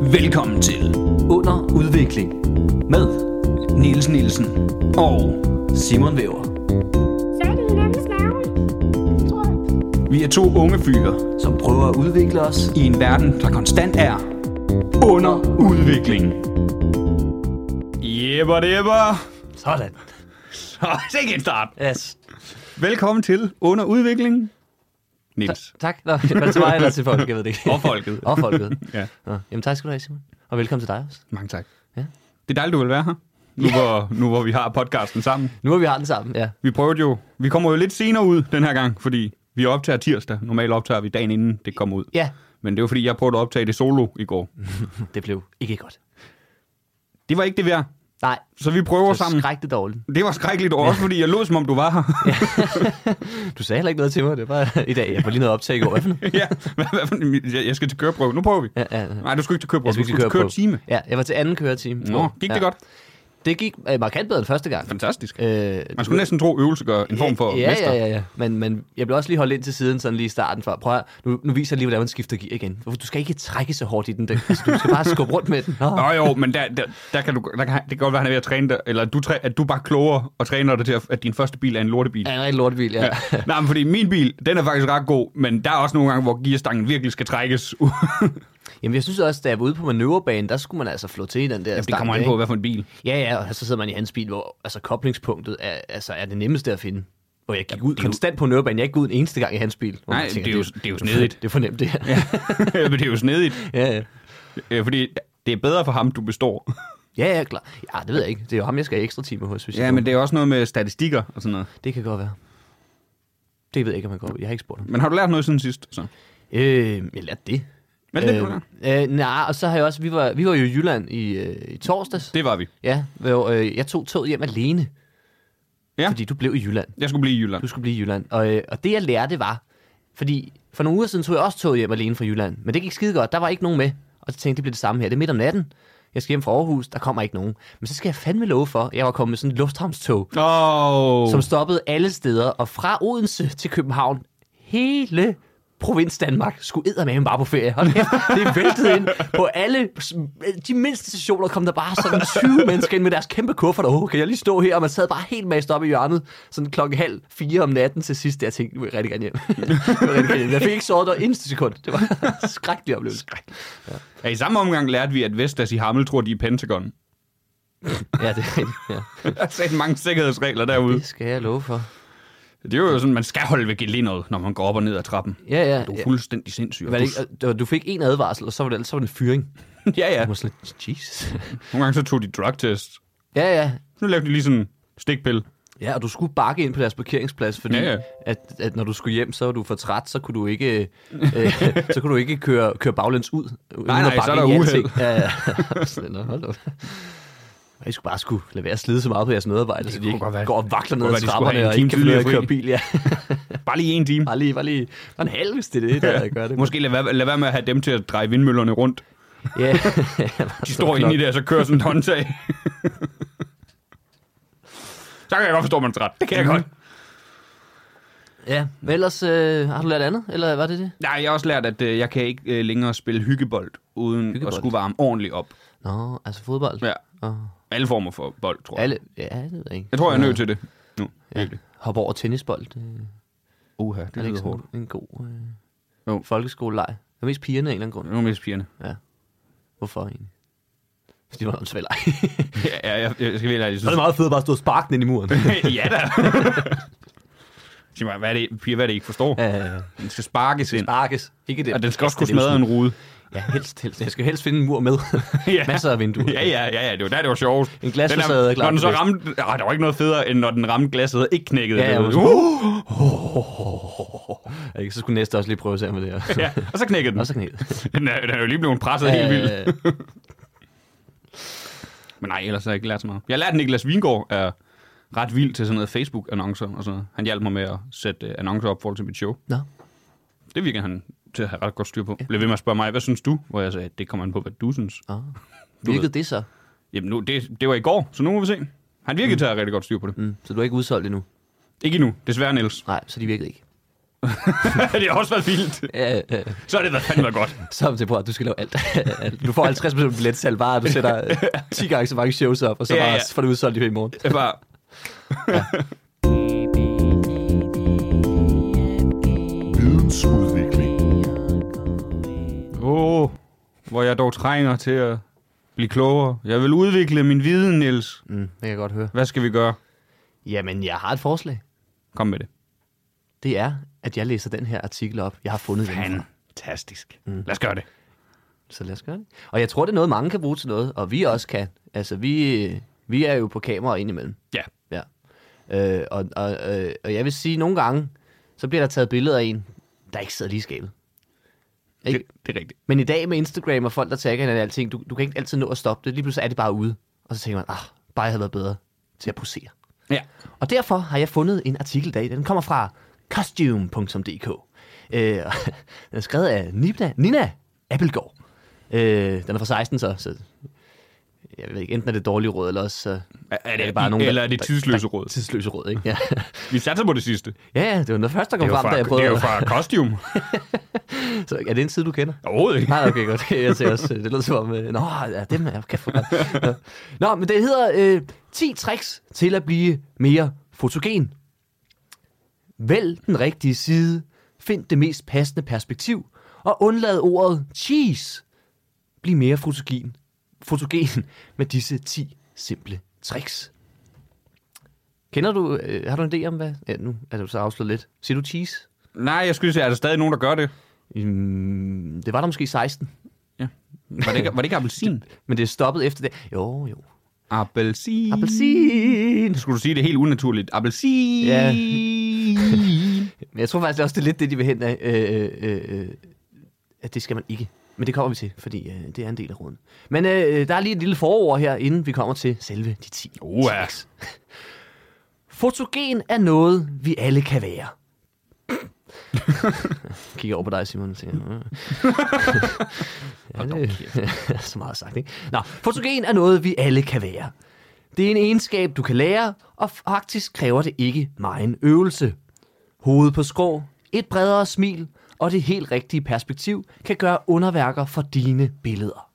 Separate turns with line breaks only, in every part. Velkommen til Under Udvikling med Niels Nielsen og Simon Væver.
Så er det hinandens navn. Tror jeg.
Vi er to unge fyre
som prøver at udvikle os.
i en verden, der konstant er under udvikling.
Jebber, jebber.
Sådan.
Så ikke en start.
Yes.
Velkommen til Under Udvikling. Niels.
Tak. Nå, var det til mig eller til folk? Jeg ved det ikke.
Og folket.
Og folket.
Ja.
Nå. Jamen tak skal du have, Simon. Og velkommen til dig også.
Mange tak.
Ja.
Det er dejligt, du vil være her. Nu hvor, nu hvor vi har podcasten sammen.
Nu har vi har den sammen. Ja.
Vi prøvede jo... Vi kommer jo lidt senere ud den her gang, fordi vi optager tirsdag. Normalt optager vi dagen inden det kommer ud.
Ja,
Men det var fordi, jeg prøvede at optage det solo i går.
det blev ikke godt.
Det var ikke det værd.
Nej,
Så vi prøver
det var
sammen.
skrækket dårligt.
Det var skrækkeligt også, fordi jeg lå som om du var her.
Du sagde heller ikke noget til mig. Det var i dag. Jeg var lige noget optag i går. Hvad for noget?
ja, hvad, hvad, for en- jeg- jeg skal til køreprøve. Nu prøver vi.
Ja, ja, ja.
Nej, du skulle ikke til køreprøve. Du
Jeg skulle
skulle
ikke
til
køre
køretime.
Ja, jeg var til anden køretime.
Nå, gik det godt?
Det gik øh, markant bedre end første gang.
Fantastisk.
Øh,
Man skulle næsten tro, øvelse gør en form for
ja,
mester.
Ja, ja, ja. Men, men jeg blev også lige holdt ind til siden, sådan lige i starten, for prøv at, nu, nu viser jeg lige, hvordan man skifter gear igen. Hvorfor- Du skal ikke trække så hårdt i den. den- Altså, du skal bare skubbe rundt med den. Nå.
Nå jo, men der, der, der kan du, der kan, det kan godt være, at han er ved at træne dig, eller du, træ, at du er bare klogere og træner dig til, at, at din første bil er en lortebil.
Ja, en rigtig lortebil, ja.
Ja. Nej, men fordi min bil, den er faktisk ret god, men der er også nogle gange, hvor gearstangen virkelig skal trækkes.
Jamen, jeg synes også, da jeg var ude på manøvrebanen, der skulle man altså flå til i den der Jamen,
det kommer an på, hvad for en bil.
Ja, ja, og så sidder man i hans bil, hvor altså, koblingspunktet er, altså, er det nemmeste at finde. Hvor jeg gik ud
jo-
konstant på manøvrebanen. Jeg gik ud en eneste gang i hans bil. Hvor
Nej,
man
det er jo- det er jo snedigt.
Det er fornemt, det her. Ja.
men det er jo snedigt,
ja, ja.
øh, fordi det er bedre for ham, du består.
Ja, ja, klar. Ja, det ved jeg ikke. Det er jo ham, jeg skal have ekstra timer hos, hvis jeg
det er også noget med statistikker og sådan noget.
Det kan godt være. Det ved jeg ikke, om man går Jeg har ikke spurgt ham.
Men har du lært noget siden sidst? Så?
Øh, jeg lærte det.
Hvad er det, du
øh, øh, nej, og så har jeg også, vi var, vi var jo i Jylland i, øh, i torsdags. Det.
Det var vi.
Ja, hvor øh, jeg tog toget hjem alene.
Ja.
Fordi du blev i Jylland.
Jeg skulle blive i Jylland.
Du skulle blive i Jylland. Og, øh, og det jeg lærte var, fordi for nogle uger siden tog jeg også toget hjem alene fra Jylland. Men det gik skide godt, der var ikke nogen med. Og så tænkte jeg, det blev det samme her. Det er midt om natten. Jeg skal hjem fra Aarhus, der kommer ikke nogen. Men så skal jeg fandme love for, at jeg var kommet med sådan et lufthavnstog.
Åh,
som stoppede alle steder, og fra Odense til København, hele provins Danmark skulle med bare på ferie. Hold kæft, det væltede ind på alle de mindste stationer, kom der bare sådan 20 mennesker ind med deres kæmpe kuffer. Åh, kan jeg lige stå her? Og man sad bare helt mast op i hjørnet, sådan klokken halv fire om natten til sidst. Jeg tænkte, nu vil jeg rigtig gerne hjem. Nu vil jeg, rigtig gerne hjem. jeg fik ikke sovet der eneste sekund. Det var en skrækkelig oplevelse.
ja, i samme omgang lærte vi, at Vestas i Hammel tror, de er Pentagon.
Ja, det er rigtigt. Ja.
Der er sat mange sikkerhedsregler derude.
Det skal jeg love for.
Det er jo sådan, man skal holde ved gelinderet, når man går op og ned ad trappen.
Ja, ja.
Du
ja.
er fuldstændig sindssyg.
Var det ikke, og du fik en advarsel, og så var det, så var det en fyring.
ja, ja.
Jeg var sådan lidt, Jesus.
Nogle gange så tog de drugtest.
Ja, ja.
Nu lavede de lige sådan en stikpille.
Ja, og du skulle bakke ind på deres parkeringsplads, fordi
Ja, ja.
At, at når du skulle hjem, så var du for træt, så kunne du ikke, øh, så kunne du ikke køre, køre baglæns ud. uden
nej,
at bakke
så er der
ind i
uheld.
alting. Ja, ja. Sådan, nå, hold op. Og I skulle bare skulle lade være at slide så meget på jeres medarbejdere, så de
kunne
ikke
godt være.
går og vakler ned
kunne
ad
godt være, de skulle
trapperne
have en
og ikke
time
kan finde ud af at
tidligere
køre bil. Ja.
Bare lige en time.
bare lige, bare lige. Bare en halv, hvis det er det, der ja. gør det.
Måske lad være, lad være med at have dem til at dreje vindmøllerne rundt.
Ja.
De står inde i Altså, det, og så kører sådan et håndtag. så kan jeg godt forstå, at man er træt. Det kan jeg godt.
Ja, men ellers øh, har du lært andet, eller var det det?
Nej, jeg har også lært, at øh, jeg kan ikke øh, længere spille hyggebold, uden
Hyggebold.
at skulle varme ordentligt op.
Nå, altså fodbold.
Ja.
Og
Alle former for bold, tror jeg.
alle, ja, det ved jeg ikke.
Jeg tror, jeg er nødt til det. Nu.
Ja.
Ja.
Hoppe over tennisbold. Øh.
Uha,
Det
det
er ikke
lyder
sådan
hårdt.
en god øh,
Jo.
folkeskoleleg. Det er mest pigerne af en eller anden grund.
Nu er mest pigerne.
Hvorfor egentlig? Fordi det var en svær leg.
Ja, ja, jeg, jeg skal virkelig, jeg synes,
meget fedt at bare stå og sparke den ind i muren.
ja da. Sig mig, hvad er det, piger, hvad er det, I ikke forstår? Ja. Den skal sparkes ind,
Sparkes. Ikke det.
og den skal også kunne
Det er jo
smadre en rude.
sådan- Ja, helst, helst. Jeg skal helst finde en mur med.
Ja.
Masser af vinduer.
Ja, ja, ja, ja, det var der, det var sjovt.
En glasfacade er
er
klart
Når den så
det bedste.
ramte... Ej, der var ikke noget federe, end når den ramte glasset og ikke knækkede.
Ja,
det.
ja, men-
uh,
Ja, ikke? Så skulle næste også lige prøve at se med det her.
Uh! ja, og så knækkede den.
Og så knæet.
Den er, den er jo lige blevet presset helt vildt. Men nej, ellers har jeg ikke lært så meget. Jeg har lært, at Niklas Vingård er ret vild til sådan noget Facebook-annoncer og sådan noget. Han hjalp mig med at sætte øh, annoncer op forhold til mit show.
Nå.
Det virker han til at have ret godt styr på. Blev ved med at spørge mig, hvad synes du? Hvor jeg sagde, det kommer an på, hvad du synes.
Oh. Virkede det så?
Jamen, nu, det, det var i går, så nu må vi se. Han virkede mm. til at have rigtig godt styr på det. Mm.
Mm. Så du er ikke udsolgt endnu?
Ikke endnu, desværre Niels.
Nej, så de virkede ikke.
det har også været vildt.
Øh, øh,
Så har det været fandme godt.
så er det på, at du skal lave alt. du får 50 procent billetsalg bare, at du sætter øh, 10 gange så mange shows op, og så
Ja,
bare
ja.
får det udsolgt i morgen.
Det var... Vidensudvikling. Åh, oh, hvor jeg dog trænger til at blive klogere. Jeg vil udvikle min viden, Niels.
Mm, det kan jeg godt høre.
Hvad skal vi gøre?
Jamen, jeg har et forslag.
Kom med det.
Det er, at jeg læser den her artikel op. Jeg har fundet den.
Fantastisk. Mm. Lad os gøre det.
Så lad os gøre det. Og jeg tror, det er noget, mange kan bruge til noget, og vi også kan. Altså, vi, øh, vi er jo på kamera indimellem.
Ja.
Ja. Øh, og, og, øh, og jeg vil sige, at nogle gange, så bliver der taget billeder af en, der ikke sidder lige i skabet. Ikke?
Det, det er rigtigt.
Men i dag med Instagram og folk, der tagger hinanden og alting, du, du kan ikke altid nå at stoppe det. Lige pludselig er det bare ude. Og så tænker man, ah, bare jeg havde været bedre til at posere.
Ja.
Og derfor har jeg fundet en artikel i dag. Den kommer fra costume.dk. Øh, og den er skrevet af Nina, Nina Appelgaard. Øh, den er fra 16, så, så jeg ved ikke, enten er det dårlige råd, eller også så
Er, er det, bare nogen, eller er det
der-
tidsløse
der-
råd?
tidsløse råd, ikke? Ja.
Vi satser på det sidste. Det
ja, ja, det var noget første, der
er
kom
jo
frem,
fra,
da jeg
det er
prøvede.
jo fra Costume.
Så, er det en side, du kender?
Overhovedet ikke.
Nej, okay, godt. Jeg ser også, det lyder som om, øh, nå, ja, dem er kan få godt. Nå. Nå, men det hedder øh, 10 tricks til at blive mere fotogen. Vælg den rigtige side, find det mest passende perspektiv, og undlad ordet cheese. Bliv mere fotogen, fotogen med disse 10 simple tricks. Kender du, øh, har du en idé om hvad? Ja, nu er du så afsløret lidt. Siger du cheese?
Nej, jeg skulle sige, er der stadig nogen, der gør det?
Mm, det var der måske 16,
Var det ikke, var det ikke appelsin?
men det er stoppet efter det. Jo, jo.
Appelsin.
Appelsin.
Skulle du sige det helt unaturligt? Appelsin.
Ja. Men jeg tror faktisk også, det er lidt det, de vil hen af, øh, øh, øh, at det skal man ikke. Men det kommer vi til, fordi øh, det er en del af råden. Men øh, der er lige et lille forord her, inden vi kommer til selve de 10
Uha.
tricks. Fotogen er noget, vi alle kan være. Jeg Kigger over på dig, Simon, og tænker... "Øh." ja, det er så meget sagt, ikke? Nå, fotogen er noget, vi alle kan være. Det er en egenskab, du kan lære, og faktisk kræver det ikke meget øvelse. Hovedet på skrå, et bredere smil og det helt rigtige perspektiv kan gøre underværker for dine billeder.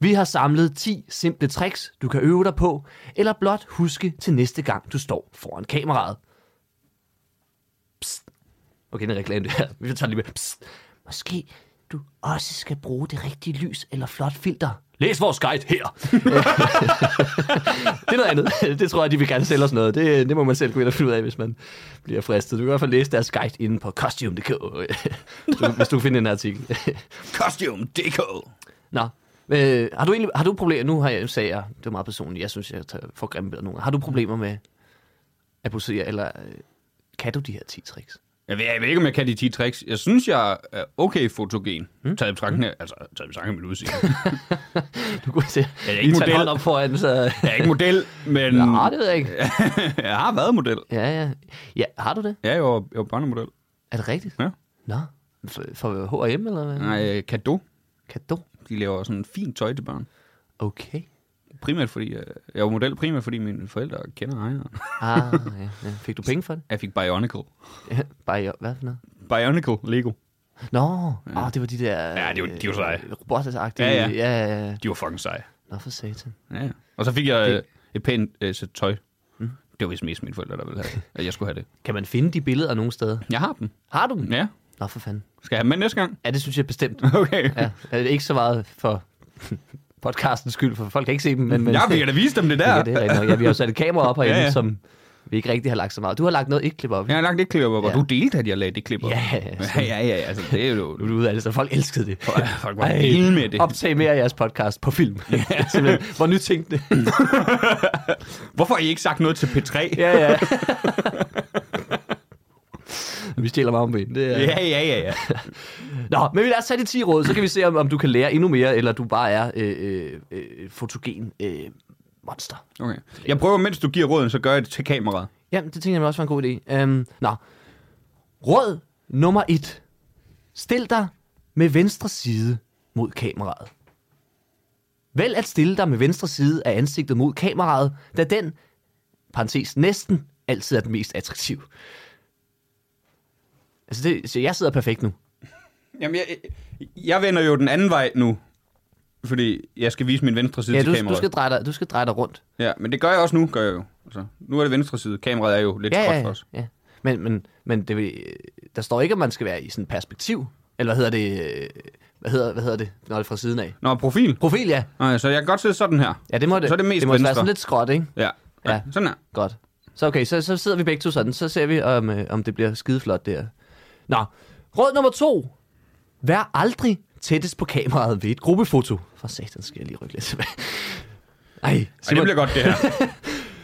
Vi har samlet 10 simple tricks, du kan øve dig på, eller blot huske til næste gang, du står foran kameraet. Psst. Okay, det er en reklame det her. Vi tager lige med. Psst. Måske du også skal bruge det rigtige lys eller flot filter. Læs vores guide her. det er noget andet. Det tror jeg, de vil gerne sælge os noget. Det, det må man selv gå ind og finde ud af, hvis man bliver fristet. Du kan i hvert fald læse deres guide inde på costume.dk, hvis du- hvis du kan finde den her artikel.
Costume DK.
Nå. Øh, har du egentlig, har du problemer, nu har jeg, sagde jeg, det er meget personligt, jeg synes, jeg tager, får grimme billeder nogle gange. Har du problemer med at posere, eller øh, kan du de her 10 tricks?
Jeg ved, jeg ved ikke, om jeg kan de 10 tricks. Jeg synes, jeg er okay fotogen.
Hmm?
Mm. Taget i betragtning af, altså, taget i betragtning af mit udseende.
Du kunne se,
er ikke
lige tage en
model.
hånd op foran, så...
Jeg er ikke model, men
Nå, det ved jeg ikke.
jeg har været model.
Ja, ja. ja, har du det?
Ja, jeg var, jeg var børnemodel.
Er det rigtigt?
Ja.
Nå, for, for H&M, eller hvad?
Nej, øh, Kado.
Kado?
De laver sådan fint tøj til børn.
Okay.
Primært fordi, øh, jeg var model primært fordi mine forældre kender ejeren.
Ah, ja, ja. Fik du penge for det?
Jeg fik Bionicle.
Ja, bare i, hvad for noget?
Bionicle Lego.
Nå, ja. oh, det var de der...
Ja, det var- de var seje.
Robotter-agtige...
Ja, ja.
ja, ja, ja.
De var fucking seje.
Nå, for satan.
Ja, ja. Og så fik jeg øh, et pænt øh, sæt tøj.
Mm.
Det var vist mest mine forældre, der ville have det. At jeg skulle have det.
Kan man finde de billeder nogen steder?
Jeg har dem.
Har du dem?
Ja.
Nå, for fanden.
Skal jeg have dem med næste gang?
Ja, det synes jeg bestemt.
Okay.
Ja, det er ikke så meget for podcastens skyld, for folk kan ikke se dem. Men, men,
Jeg vil da vise dem det der.
Ja, det er rigtigt nok. Ja, vi har jo sat et kamera op herinde,
Ja,
ja,
ja.
ja. som vi ikke rigtig har lagt så meget. Du har lagt noget ikke klip op.
Jeg har lagt det klip op, og
Ja.
du delte, at jeg lagde det klip op.
Ja, ja,
ja, ja, ja, altså, det er jo...
Nu er du ude af det, så folk elskede det.
folk var vilde med det.
Optag mere af jeres podcast på film. Ja. Simpelthen. Hvor nytænkende.
Hvorfor har I ikke sagt noget til P3?
ja, ja. vi stjæler meget om ben. Det er...
ja, ja, ja. ja.
Nå, men vi lader os tage de 10 råd, så kan vi se, om, om du kan lære endnu mere, eller du bare er øh, øh, øh, fotogen øh, monster.
Okay. Jeg prøver, mens du giver råden, så gør jeg det til kameraet.
Jamen, det tænker jeg også var en god idé. Øhm, nå. Råd nummer et. Stil dig med venstre side mod kameraet. Vælg at stille dig med venstre side af ansigtet mod kameraet, da den, parentes næsten, altid er den mest attraktiv. Altså, det, så jeg sidder perfekt nu.
Jamen, jeg, jeg vender jo den anden vej nu, fordi jeg skal vise min venstre side
Ja,
til
du, du,
kameraet.
skal dreje dig, du skal dreje dig rundt.
Ja, men det gør jeg også nu, gør jeg jo. Altså, nu er det venstre side. Kameraet er jo lidt
Ja,
skråt
ja,
for
ja,
os.
ja. Men, men, men det, vil- der står ikke, at man skal være i sådan perspektiv. Eller hvad hedder det? øh, Hvad hedder, hvad hedder det, når det er fra siden af?
Nå, profil.
Profil, ja.
Nej, så jeg kan godt sidde sådan her.
Ja, det må det,
Så er det mest
det må være
venstre.
sådan lidt skråt, ikke?
Ja. ja.
Ja.
Sådan her.
Godt. Så okay, så, så sidder vi begge to sådan. Så ser vi, om, øh, om det bliver skideflot der. Nå, råd nummer to. Vær aldrig tættest på kameraet ved et gruppefoto. For satan skal jeg lige rykke lidt tilbage. Ej,
Ej, det
Simon,
bliver godt, det her.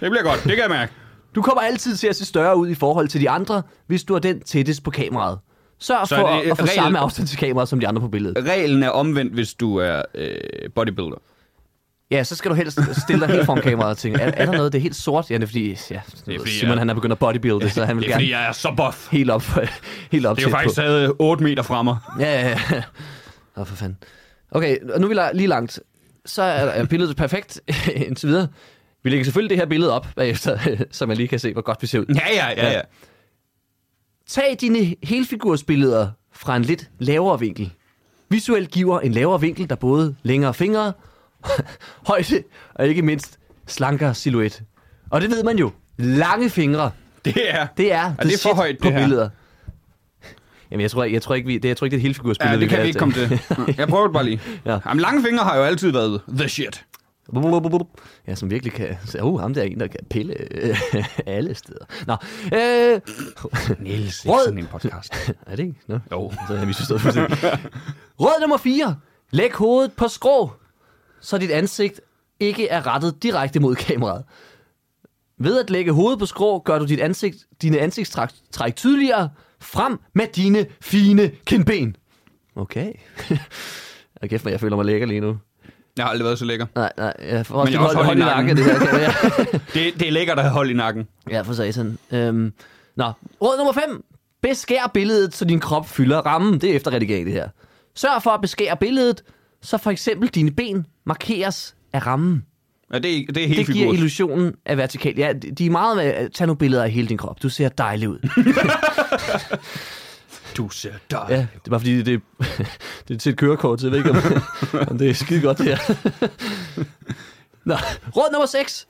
det bliver godt, det kan jeg mærke.
du kommer altid til at se større ud i forhold til de andre, hvis du er den tættest på kameraet. Sørg
Så
så
er
for
det,
det,
øh,
at få
regel-
samme afstand til kameraet som de andre på billedet.
Reglen er omvendt, hvis du er øh, bodybuilder.
Ja, så skal du helst stille dig helt foran kameraet og tænke, er, er der noget, det er helt sort? Ja, det er fordi, ja, det er
fordi,
fordi Simon
jeg-
han er begyndt at bodybuilde, så han vil gerne
jeg er så buff.
helt op, helt op
Det er jo
tæt
faktisk
på.
taget 8 meter fra mig.
Ja, ja, ja. Åh, for fanden. Okay, og nu er vi la- lige langt. Så er er billedet perfekt indtil videre. Vi lægger selvfølgelig det her billede op bagefter, så man lige kan se, hvor godt vi ser ud.
Ja, ja, ja, ja.
Tag dine helfigursbilleder fra en lidt lavere vinkel. Visuelt giver en lavere vinkel, der både længere fingre, højde og ikke mindst slankere silhuet. Og det ved man jo. Lange fingre,
Det er...
det er
det er for
shit
højt,
på
det her.
billeder. Jamen, jeg tror, jeg, jeg tror ikke, vi, det, jeg tror ikke, det er et helfigursbillede.
Ja, det kan
vil
vi
have
ikke komme til. Jeg prøver det bare lige.
Ja.
Jamen, lange fingre har jo altid været the shit.
Ja, som virkelig kan... Så, uh, ham der er en, der kan pille øh, alle steder. Nå, øh,
Niels,
ikke sådan
en podcast.
er det ikke? Nå.
Jo.
Så har vi forstået fuldstændig. Råd nummer 4. Læg hovedet på skrå, så dit ansigt ikke er rettet direkte mod kameraet. Ved at lægge hovedet på skrå, gør du dit ansigt, dine ansigtstræk træk tydeligere frem med dine fine kindben. Okay. Og kæft, men jeg føler mig lækker lige nu.
Jeg har aldrig været så lækker.
Nej, nej, jeg får også
jeg
lige
har også
holdt hånd i nakken. Det her, kan jeg.
Det, det er lækkert at have hold i nakken.
Ja, for satan. Øhm, nå, råd nummer 5. Beskær billedet, så din krop fylder rammen. Det er efterredigering, det her. Sørg for at beskære billedet, så for eksempel dine ben markeres af rammen.
Ja, det, er- det er hele
Det giver
figuren.
illusionen af vertikal. Ja, de de er meget med at tage nogle billeder af hele din krop. Du ser dejlig ud.
Du ser dig.
Ja, det er bare fordi, det, det er til et kørekort, så jeg ved ikke, om, om det er skide godt det her. Nå, råd nummer 6.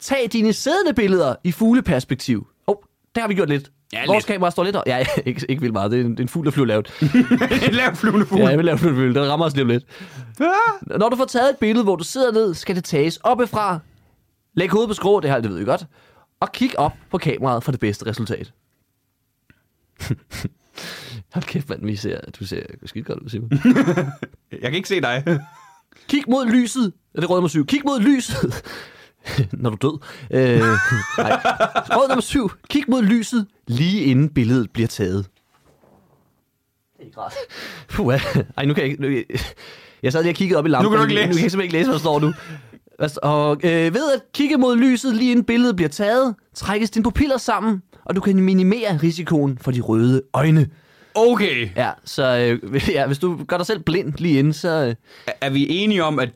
Tag dine siddende billeder i fugleperspektiv. Åh, oh, der har vi gjort lidt.
Ja,
Vores
lidt.
kamera står lidt... op. Ja, ikke, ikke vildt meget. Det er en, det er en fugl, der flyver lavt.
en lav flyvende fugl.
Ja, jeg vil lave flyvende Den rammer os lige om lidt. Når du får taget et billede, hvor du sidder ned, skal det tages oppefra. Læg hovedet på skrå, det har det ved I godt. Og kig op på kameraet for det bedste resultat. Hold kæft, mand, vi ser, du ser skidt godt ud, Simon.
Jeg kan ikke se dig.
Kig mod lyset. Er det råd nummer syv? Kig mod lyset. Når du er død. Øh, nej. Råd nummer syv. Kig mod lyset, lige inden billedet bliver taget. Det er ikke rart. Puh, ej, nu kan jeg ikke... Nu, jeg, jeg sad lige og kiggede op i lampen.
Nu kan du ikke
Nu kan
læse.
jeg simpelthen ikke læse, hvad der står nu. Hvad st- Og øh, ved at kigge mod lyset, lige inden billedet bliver taget, trækkes dine pupiller sammen, og du kan minimere risikoen for de røde øjne.
Okay.
Ja, så øh, ja, hvis du gør dig selv blind lige inden, så... Øh,
Er vi enige om, at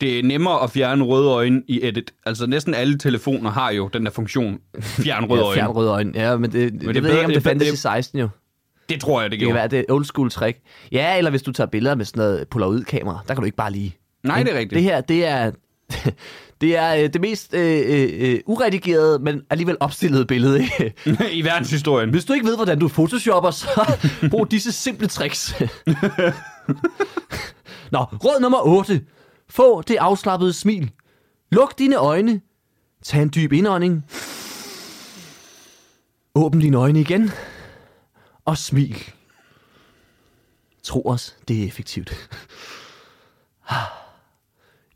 det er nemmere at fjerne røde øjne i edit? Altså næsten alle telefoner har jo den der funktion, fjern røde
ja,
øjne.
fjern røde øjne. Ja, men det, men det,
er
det ved
bedre-
jeg ikke, om
det er
det fandtes
bedre-
i 16 jo. Det
Det tror jeg, det
kan
gjorde.
være, det er et old school trick. Ja, eller hvis du tager billeder med sådan noget puller ud kamera, der kan du ikke bare lige.
Nej,
Ikke?
det er rigtigt.
Det her, det er... Det er øh, det mest øh, øh, øh, uredigerede, men alligevel opstillede billede. ikke?
I verdenshistorien.
Hvis du ikke ved, hvordan du photoshopper, så brug disse simple tricks. Nå, råd nummer 8. Få det afslappede smil. Luk dine øjne. Tag en dyb indånding. Åbn dine øjne igen. Og smil. Tro os, det er effektivt.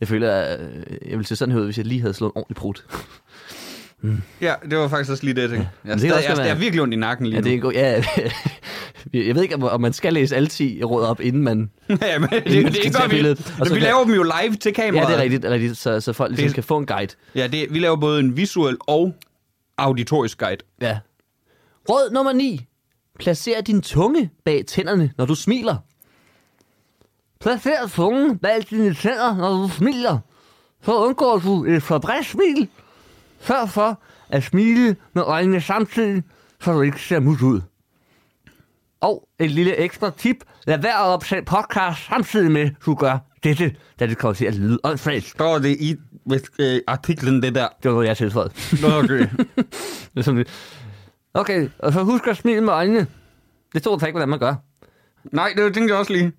Jeg føler, at jeg ville se sådan her ud, hvis jeg lige havde slået en ordentlig prut.
Ja, det var faktisk også lige det, jeg tænkte. Jeg,
kan
er stadig,
også
jeg,
være-
jeg er virkelig ondt i nakken lige
Ja, det er en god... Ja, jeg ved ikke, om- om man skal læse alle 10 råd op, inden man...
nu. ja, men det,
Inden
det,
man skal
gør
tage
vi.
billedet. Og
Men
så
vi
kan-
laver dem jo live til
Ja,
kameraet.
det er rigtigt, det er rigtigt så, så folk ligesom
Det-
det... kan få en guide.
Ja, det, vi laver både en visuel og auditorisk guide.
Ja. Råd nummer 9. Placer din tunge bag tænderne, når du smiler. Placer tungen bag dine tænder, når du smiler. Så undgår du et for bredt smil. Sørg for at smile med øjnene samtidig, så du ikke ser mus ud. Og et lille ekstra tip. Lad være at opsætte podcast samtidig med, at du gør dette, da det kommer til at lyde åndssvagt.
Står det i hvis, øh, artiklen, det der?
Det var noget, jeg tilføjede.
Nå, okay.
Det er sådan lidt. Okay, og så husk at smile med øjnene. Det stod der ikke, hvordan man gør.
Nej, det tænkte jeg også lige.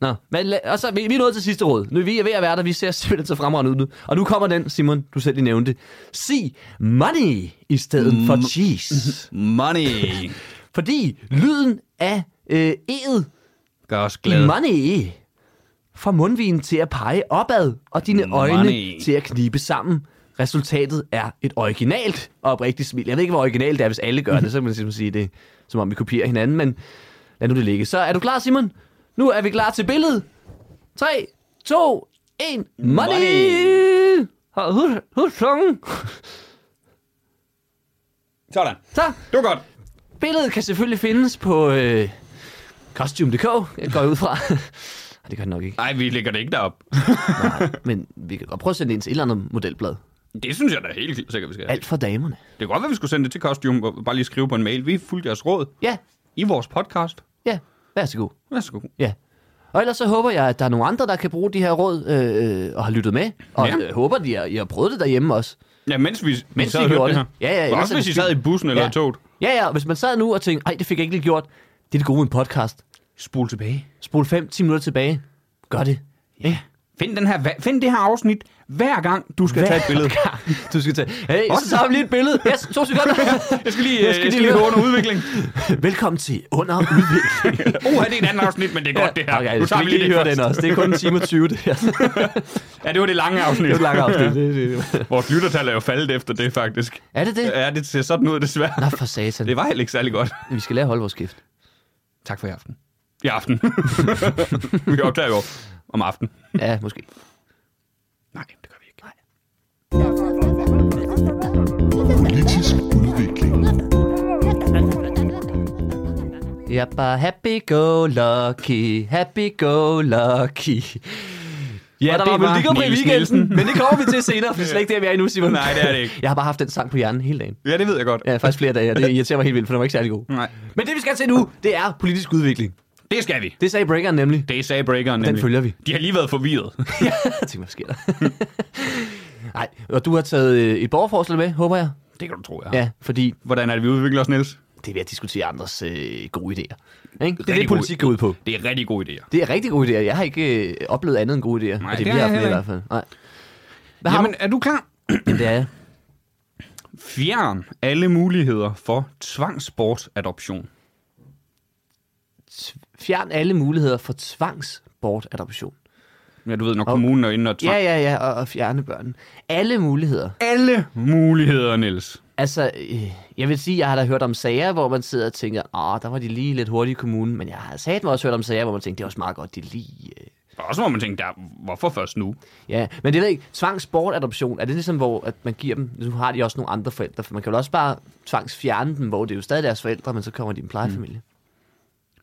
Nå, men la- og så, vi, vi er nået til sidste råd. Nu er vi ved at være der, vi ser simpelthen så fremragende ud nu. Og nu kommer den, Simon, du selv lige nævnte. Sig money i stedet mm. for cheese.
Money.
Fordi lyden af øh, e'et
Gør os
i
glade.
money får mundvinen til at pege opad, og dine
Money.
øjne til at knibe sammen. Resultatet er et originalt og oprigtigt smil. Jeg ved ikke, hvor originalt det er, hvis alle gør det, så kan man simpelthen sige det, er, som om vi kopierer hinanden, men lad nu det ligge. Så er du klar, Simon? Nu er vi klar til billedet. 3, 2, 1, money!
Money.
Hold- Husk, husk tungen.
Sådan.
Så,
Det var godt.
Billedet kan selvfølgelig findes på øh, costume.dk, jeg går jeg ud fra. Ej, det gør det nok ikke.
Nej, vi lægger det ikke derop.
Men vi kan godt prøve at sende det ind til et eller andet modelblad.
Det synes jeg da helt sikkert, vi skal.
Alt for damerne.
Det kan godt være, vi skulle sende det til Costume og bare lige skrive på en mail. Vi fulgte jeres råd
Ja,
i vores podcast.
ja. Vær så god.
Værsgo.
Ja. Og ellers så håber jeg, at der er nogle andre, der kan bruge de her råd øh, og har lyttet med. Og
Ja.
ja. øh, håber, at I har, I har prøvet det derhjemme også.
Ja, mens vi,
Mens
vi sad
I
og hørte
gjorde
det her.
det. Ja, ja,
Men
ellers
også
er det
hvis I
fint.
sad i bussen eller
Ja.
i toget.
Ja, ja, og hvis man sad nu og tænkte, ej, det fik jeg ikke lige gjort. Det er det gode med en podcast.
Spol tilbage.
Spol 5-10 minutter tilbage. Gør det. Ja.
Find, den her, find det her afsnit hver gang, du skal
Hver
tage et billede.
Du skal tage... Hey, så tager vi lige et billede. Yes, to sekunder.
Jeg skal lige, jeg skal
øh,
jeg skal lige gå under udvikling.
Velkommen til Under Udvikling.
Åh, det er et andet afsnit, men det er godt det her.
Okay, nu tager vi lige høre den også. Det er kun en time og 20, det her. Det
Ja, det var det lange
er
afsnit.
et langt afsnit. Det- det- det-
Vores lyttertal er jo faldet efter det, faktisk.
Er det det?
Ja, det ser sådan ud, desværre.
Nå, for satan.
Det var heller ikke særlig godt.
Vi skal lære at holde vores kæft.
Tak for i aften. I aften. vi optager jo om aftenen.
Ja, måske.
Nej, det gør vi ikke. Nej.
Politisk udvikling.
Jeg er bare happy go lucky, happy go lucky. Ja, der
det var
var Melodi Grand Prix i
Niels
weekenden,
Nielsen.
men det kommer vi til senere, for det er slet ikke der, vi er endnu, Simon.
Nej, det er det ikke.
Jeg har bare haft den sang på hjernen hele dagen.
Ja, det ved jeg godt.
Ja, faktisk flere dage, og det irriterer mig helt vildt, for den var ikke særlig god.
Nej.
Men det, vi skal til nu, Mm. det er politisk udvikling.
Det skal vi.
Det sagde Breakeren nemlig.
Det sagde Breakeren
Den
nemlig.
følger vi.
De har lige været forvirret.
Ja, jeg tænkte, hvad sker der? Nej, og du har taget øh, et borgerforslag med, håber jeg.
det kan du tro, jeg har.
Ja, fordi
Hvordan er det, vi udvikler os, Niels?
det er ved at diskutere andres øh, gode idéer. Ikke? Det er
Rigtig
det, politik går ud på.
Det er rigtig gode idéer.
Det er rigtig gode idéer. Jeg har ikke øh, oplevet andet end gode idéer.
Nej,
og
det
vi
har
har
jeg
haft med i
heller
hvert fald. Nej. Hvad har
Jamen,
Jamen,
er du klar?
Jamen, det er jeg.
Fjern alle muligheder for tvangsbortadoption.
T- Fjern alle muligheder for tvangsbortadoption.
Ja, du ved, når kommunen er inde og tvang.
Ja, ja, ja, og, og fjerne børnene. Alle muligheder.
Alle muligheder, Niels.
Altså, øh, jeg vil sige, jeg har da hørt om sager, hvor man sidder og tænker, åh, der var de lige lidt hurtige i kommunen, men jeg har satme også hørt om sager, hvor man tænker, det er også meget godt, de lige... Øh,
Og også må man tænke, der, hvorfor først nu?
Ja, men det ved jeg ikke. Tvangsbortadoption, er det ligesom, hvor at man giver dem... Nu har de også nogle andre forældre, for man kan vel også bare tvangsfjerne dem, hvor det er jo stadig deres forældre, men så kommer de i en plejefamilie.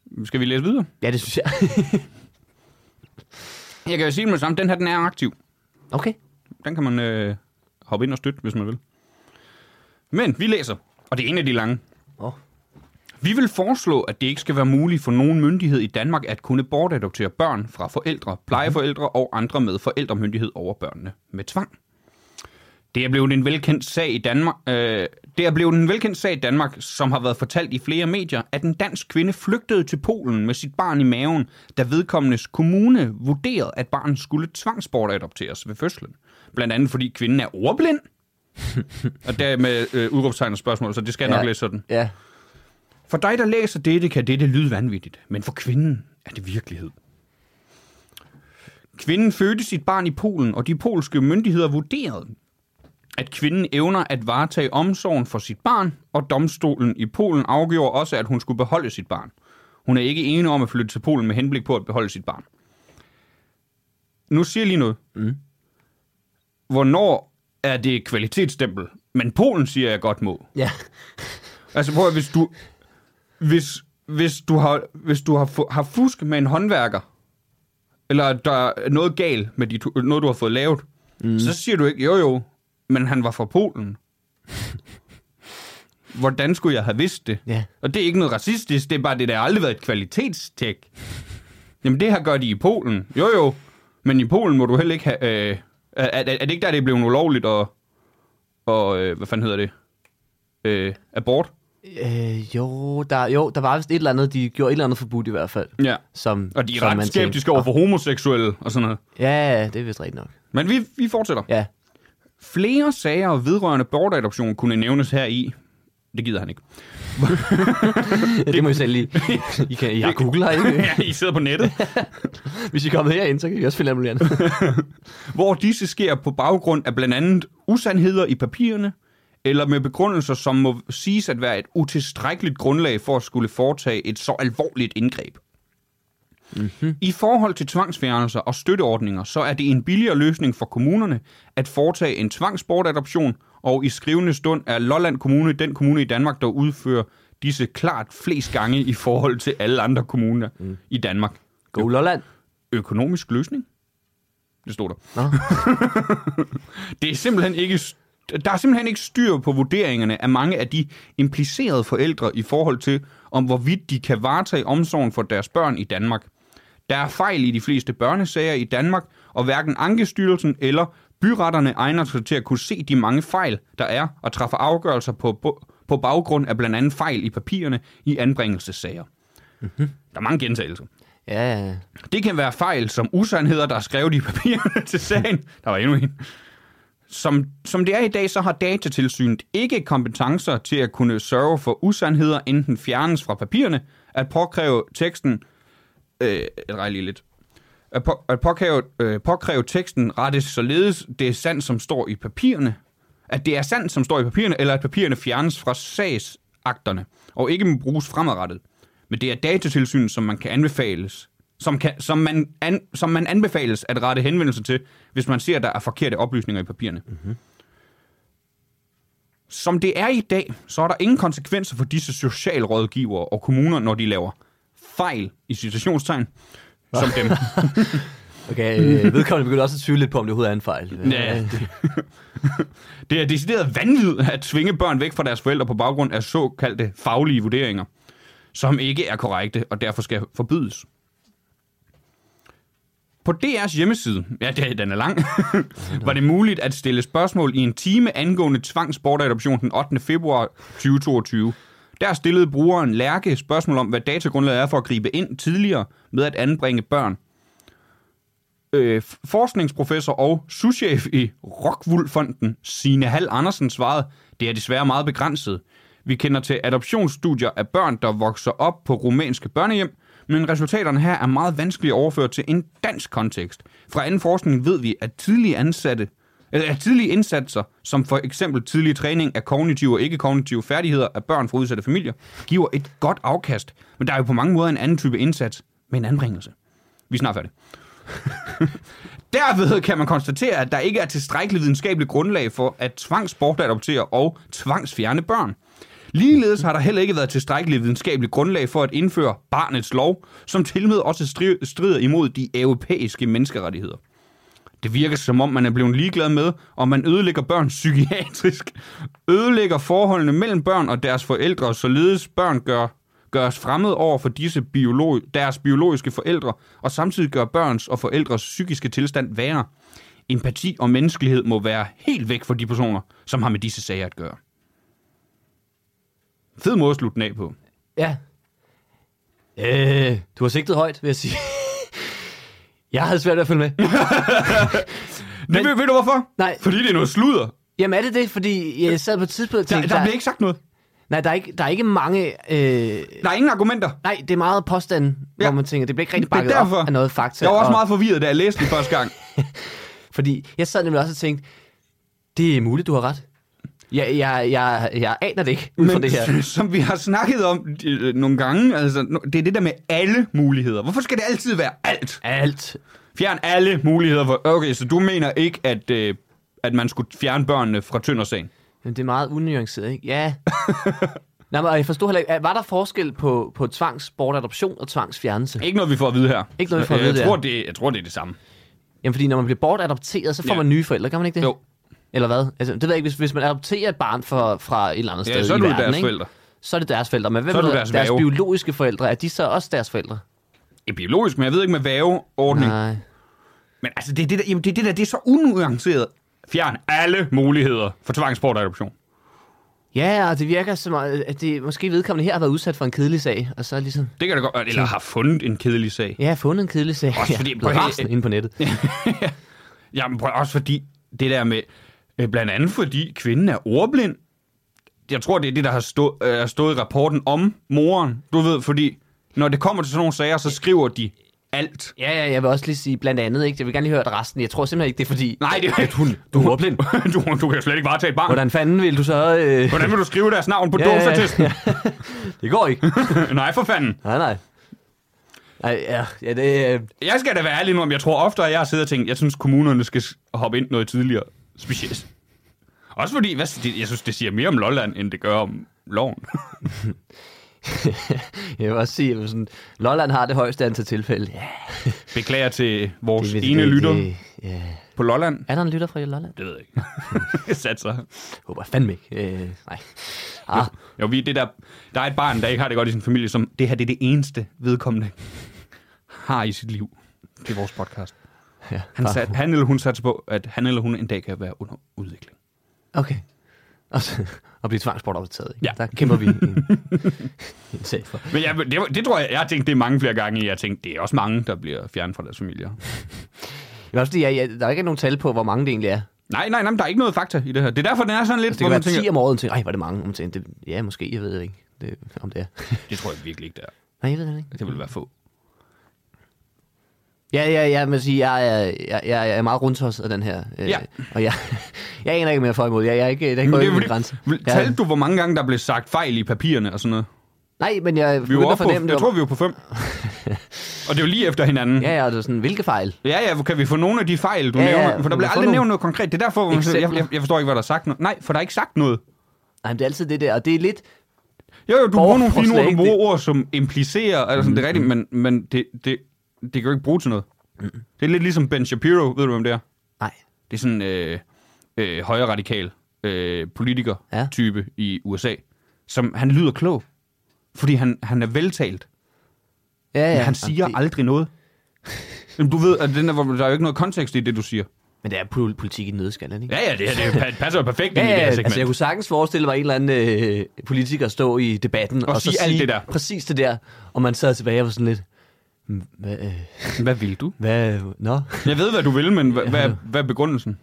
Mm.
Skal vi læse videre?
Ja, det synes jeg.
Jeg kan jo sige det med det samme. Den her, den er aktiv.
okay.
Den kan man øh, hoppe ind og støtte, hvis man vil. Men vi læser, og det er en af de lange.
Oh.
Vi vil foreslå, at det ikke skal være muligt for nogen myndighed i Danmark at kunne bortadoptere børn fra forældre, plejeforældre og andre med forældremyndighed over børnene med tvang. Det er blevet en velkendt sag i Danmark, øh, det er blevet en velkendt sag i Danmark, som har været fortalt i flere medier, at en dansk kvinde flygtede til Polen med sit barn i maven, da vedkommendes kommune vurderede, at barnet skulle tvangsbortadopteres ved fødslen. Blandt andet fordi kvinden er ordblind. og dermed øh, udråbstegn og spørgsmål, så det skal jeg nok
Ja.
læse sådan.
Ja.
For dig, der læser dette, kan dette lyde vanvittigt, men for kvinden er det virkelighed. Kvinden fødte sit barn i Polen, og de polske myndigheder vurderede, at kvinden evner at varetage omsorgen for sit barn, og domstolen i Polen afgjorde også, at hun skulle beholde sit barn. Hun er ikke enig om at flytte til Polen med henblik på at beholde sit barn. Nu siger jeg lige noget. Mm. Hvornår er det et kvalitetsstempel? Men Polen siger jeg godt må.
Ja.
Altså prøv at, hvis du... Hvis, hvis du, har, hvis du har, fu- har fusk med en håndværker, eller der er noget galt med dit, hu- noget, du har fået lavet, mm. så siger du ikke, jo jo, men han var fra Polen. hvordan skulle jeg have vidst det?
Ja.
Og det er ikke noget racistisk, det er bare det, der har aldrig været et kvalitetstjek. Jamen det her gør de i Polen. Jo jo, men i Polen må du heller ikke have... Øh, er, er, er det ikke der, det er blevet ulovligt og... og øh, hvad fanden hedder det? Øh, abort?
Øh, jo, der, jo, der var vist et eller andet, de gjorde et eller andet forbudt i hvert fald.
Ja.
Som,
Og de er
som man "Ah."
ret
tænkte,
skeptiske over for homoseksuelle og sådan noget.
"Åh, Ja, det er vist rigtigt nok.
Men vi, vi fortsætter.
Ja.
Flere sager vedrørende bortadoption kunne nævnes her i. Det gider han ikke.
ja, det må I selv lige. I, kan, I har Google her, ikke?
ja, I sidder på nettet.
Hvis I kommer herind, så kan I også finde alt muligt andet.
hvor disse sker på baggrund af blandt andet usandheder i papirerne, eller med begrundelser, som må siges at være et utilstrækkeligt grundlag for at skulle foretage et så alvorligt indgreb. Mm-hmm. I forhold til tvangsfjernelser og støtteordninger, så er det en billigere løsning for kommunerne at foretage en tvangsbortadoption, og i skrivende stund er Lolland Kommune den kommune i Danmark, der udfører disse klart flest gange i forhold til alle andre kommuner mm. i Danmark.
Go Lolland.
Økonomisk løsning? Det stod der.
Nå.
Det er simpelthen ikke der er simpelthen ikke styr på vurderingerne af mange af de implicerede forældre i forhold til, om hvorvidt de kan varetage omsorgen for deres børn i Danmark. Der er fejl i de fleste børnesager i Danmark, og hverken Ankestyrelsen eller byretterne egner sig til at kunne se de mange fejl, der er, og træffe afgørelser på, på baggrund af blandt andet fejl i papirerne i anbringelsessager. Mm-hmm. Der er mange gentagelser.
Ja, ja.
Det kan være fejl som usandheder, der er skrevet i papirerne til sagen. Der var endnu en. Som, som det er i dag, så har datatilsynet ikke kompetencer til at kunne sørge for usandheder, enten fjernes fra papirerne, at påkræve teksten... Øh, rej lige lidt. At, på, at påkræve, øh, påkræve teksten rettes således, det er sandt, som står i papirerne. At det er sandt, som står i papirerne, eller at papirerne fjernes fra sagsakterne, og ikke må bruges fremadrettet. Men det er datatilsynet, som man kan anbefales, som, kan, som, man an, som man anbefales at rette henvendelse til, hvis man ser, at der er forkerte oplysninger i papirerne. Mm-hmm. Som det er i dag, så er der ingen konsekvenser for disse socialrådgivere og kommuner, når de laver fejl i citationstegn, som dem.
Okay, øh, vedkommende begynder også at tvivle lidt på, om det overhovedet er en fejl.
Ja, det, det er decideret vanvid at tvinge børn væk fra deres forældre på baggrund af såkaldte faglige vurderinger, som ikke er korrekte og derfor skal forbydes. På DR's hjemmeside, ja, det- den er lang, var det muligt at stille spørgsmål i en time angående tvangsbortadoption den 8. februar 2022. Der stillede brugeren Lærke spørgsmål om, hvad datagrundlaget er for at gribe ind tidligere med at anbringe børn øh, forskningsprofessor og souschef i Rockwool-fonden, Signe Hall Andersen, svarede, det er desværre meget begrænset. Vi kender til adoptionsstudier af børn, der vokser op på rumænske børnehjem, men resultaterne her er meget vanskelige at overføre til en dansk kontekst. Fra anden forskning ved vi, at tidlige ansatte eller at tidlige indsatser, som for eksempel tidlig træning af kognitive og ikke-kognitive færdigheder af børn fra udsatte familier, giver et godt afkast. Men der er jo på mange måder en anden type indsats med en anbringelse. Vi er snart færdige. Derved kan man konstatere, at der ikke er tilstrækkeligt videnskabeligt grundlag for at tvangsbortadoptere og tvangsfjerne børn. Ligeledes har der heller ikke været tilstrækkeligt videnskabeligt grundlag for at indføre barnets lov, som tilmed også stri- strider imod de europæiske menneskerettigheder. Det virker som om, man er blevet ligeglad med, om man ødelægger børn psykiatrisk, ødelægger forholdene mellem børn og deres forældre, således børn gør, gøres fremmed over for disse biolog, deres biologiske forældre, og samtidig gør børns og forældres psykiske tilstand værre. Empati og menneskelighed må være helt væk fra de personer, som har med disse sager at gøre. Fed måde at slutte den af på.
Ja. Øh, du har sigtet højt, vil jeg sige. Jeg havde svært ved at følge med.
Men, ved, ved du hvorfor?
Nej.
Fordi det er noget sludder.
Jamen er det det? Fordi jeg sad på et tidspunkt og
Der,
tænkte,
der bliver ikke sagt noget.
nej, der, er ikke, der er ikke mange... Øh,
Der er ingen argumenter.
nej, det er meget påstande, ja.
Ja.
hvor man tænker, det bliver ikke rigtig
Det er
bakket
derfor.
op af noget fakta.
Jeg var også
og-
meget forvirret, da jeg læste den første gang.
Fordi jeg sad nemlig også og tænkte, det er muligt, du har ret. Jeg, jeg, jeg, jeg aner det ikke ud fra
Men
det her.
som vi har snakket om øh, nogle gange, altså, nu- det er det der med alle muligheder. Hvorfor skal det altid være alt?
Alt.
Fjern alle muligheder. For, okay, så du mener ikke, at, øh, at man skulle fjerne børnene fra Tøndersagen?
Men det er meget unuanceret, ikke? Ja. Nej, men og jeg forstod heller ikke, var der forskel på, på tvangsbortadoption og tvangsfjernelse?
Ikke noget, vi får at vide her.
Ikke noget, vi får at
Øh,
vide,
jeg
det er.
tror, det, jeg tror, det er det samme.
Jamen, fordi når man bliver bortadopteret, så får
Ja.
man nye forældre, gør man ikke det?
Jo.
Eller hvad? Altså, det ved jeg ikke, hvis, hvis man adopterer et barn fra, fra et eller andet
Ja,
sted
så er
i
du
verden,
deres
ikke?
forældre.
Så er det deres forældre. Men hvem
Så er
er
du
deres,
deres
deres
værge.
biologiske forældre? Er de så også deres forældre?
Ja, biologisk, men jeg ved ikke med væveordning.
Nej.
Men altså, det er det, der, jamen, det er det der, det er så unuanceret. Fjern alle muligheder for tvangsbortadoption.
Ja, og det virker som, om, at det måske vedkommende her har været udsat for en kedelig sag, og så ligesom,
Det kan da godt Eller har fundet en kedelig sag.
ja, fundet en kedelig sag.
Også
Ja,
fordi-
blevet
på-
rasende inde på nettet.
Jamen, prøv, også fordi det der med... øh, Blandt andet fordi kvinden er ordblind. Jeg tror, det er det, der har stå, øh, har stået i rapporten om moren. Du ved, fordi når det kommer til sådan nogle sager, så skriver de alt.
Ja, ja, jeg vil også lige sige blandt andet, ikke? Jeg vil gerne lige høre det resten. Jeg tror simpelthen ikke, det er fordi...
Nej, det er ikke hun.
Du er ordblind.
du, du kan jo slet ikke varetage et barn. Hvordan,
Hvordan fanden vil du så... Øh...
Hvordan vil du skrive deres navn på
Ja,
ja,
ja, ja.
dåseattesten?
Det går ikke.
Nej, for fanden.
Nej, nej. Nej, ja, ja, det... Øh...
Jeg skal da være ærlig nu, om jeg tror ofte, at jeg har siddet og tænkt, jeg synes, kommunerne skal s- hoppe ind noget tidligere. Specielt. Også fordi, hvad, det- jeg synes, det siger mere om Lolland, end det gør om loven.
Jeg vil også sige, at sådan, Lolland har det højeste antal tilfælde. Ja,
Beklager til vores
det,
det,
det,
ene
det,
lytter
Det, ja.
på Lolland.
Er der en lytter fra Lolland?
Det ved jeg ikke. jeg satte sig.
Det håber jeg fandme ikke. Øh, nej. Ah,
Jo, vi, er det der, der er et barn, der ikke har det godt i sin familie, som det her det er det eneste vedkommende har i sit liv. Det er vores podcast.
ja. Ah,
Han, sat, han eller hun satte på, at han eller hun en dag kan være under udvikling.
Okay. Og, så, og blive tvangsbortadopteret. ikke?
Ja.
Der kæmper vi en, en sag for.
Men jeg, det, var- det, tror jeg, jeg har tænkt det mange flere gange. Jeg har tænkt, det er også mange, der bliver fjernet fra deres familier.
Det er også fordi, jeg, jeg, der ikke er nogen tal på, hvor mange det egentlig er. Altså,
Nej, nej, nej, men der er ikke noget fakta i det her. Det er derfor, den er sådan lidt...
Det kan være 10 om året, og tænker, ej, var det mange? Og man tænker, det, ja, måske, jeg ved det ikke, det, om det er.
det tror jeg virkelig ikke, der er.
Nej, jeg ved det ikke.
Det vil være få.
Ja, ja, ja, men sige, jeg, er- jeg, jeg, jeg er meget rundtosset af den her. Øh,
Ja.
Og jeg, jeg aner ikke mere for og imod. Jeg, jeg er ikke, der er ikke
Men det er
min
fordi,
grænse.
vil-
Ja.
talte du, hvor mange gange der blev sagt fejl i papirerne og sådan noget?
Nej, men jeg
Vi var
begynder at
oppe på,
fornemme
jeg
det.
tror, vi var på fem. og det er jo lige efter hinanden.
Ja, ja, og det er sådan, hvilke fejl?
Ja, ja, kan vi få nogle af de fejl, du
Ja,
ja,
ja,
nævner? For der
vi
bliver
må få
aldrig
nogle
nævnt noget konkret. Det er derfor, hvor man siger, jeg,
eksempler.
jeg, jeg forstår ikke, hvad der er sagt. noget. Nej, for der er ikke sagt noget.
Nej, men det er altid det der, og det er lidt...
Jo, jo, du bruger nogle fine
Borgerforslag,
ord, du
ikke?
bruger ord, som implicerer, altså sådan, det er rigtigt, men, men det, det, det kan jo ikke bruge til noget. Det er lidt ligesom Ben Shapiro, ved du, hvem det er?
Nej,
Det er sådan en øh, øh, højre radikal øh,
Ja.
politiker-type ja. i USA, som han lyder klog, fordi han, han er veltalt,
ja,
ja,
ja.
men han
og
siger
det,
aldrig noget. Jamen, du ved, at den der, hvor der er jo ikke noget kontekst i det, du siger.
Men det er pol- politik i nødskal, ikke?
Ja, ja, det, her, det pa- passer jo perfekt ind i det her segment.
altså jeg kunne sagtens forestille mig en eller anden øh, politiker stå i debatten og, så
sige alt
sige
det der.
præcis det der, og man sad tilbage og var sådan lidt, "Hm, hvad, øh,
Hvad vil du?
hvad, nå?
Jeg ved, hvad du vil, men hva- hvad, hvad er begrundelsen?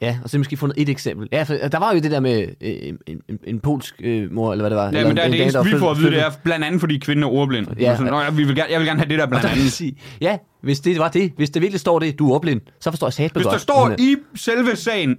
Ja, og så måske fundet et eksempel. Ja, for der var jo det der med øh, en, en, en polsk øh, mor, eller hvad det var.
Ja,
eller
men der er
en
det
dame,
eneste,
var
vi får at vide, det
flyttet-
er blandt andet, fordi kvinden er ordblind. Ja, sådan, Nå, jeg, vi vil gerne, jeg vil gerne have det der
Og
blandt
der vil jeg
andet.
sige, ja, hvis det var det, hvis det virkelig står det, du er ordblind, så forstår jeg satme
Hvis
godt.
der står
Men, øh,
i selve sagen,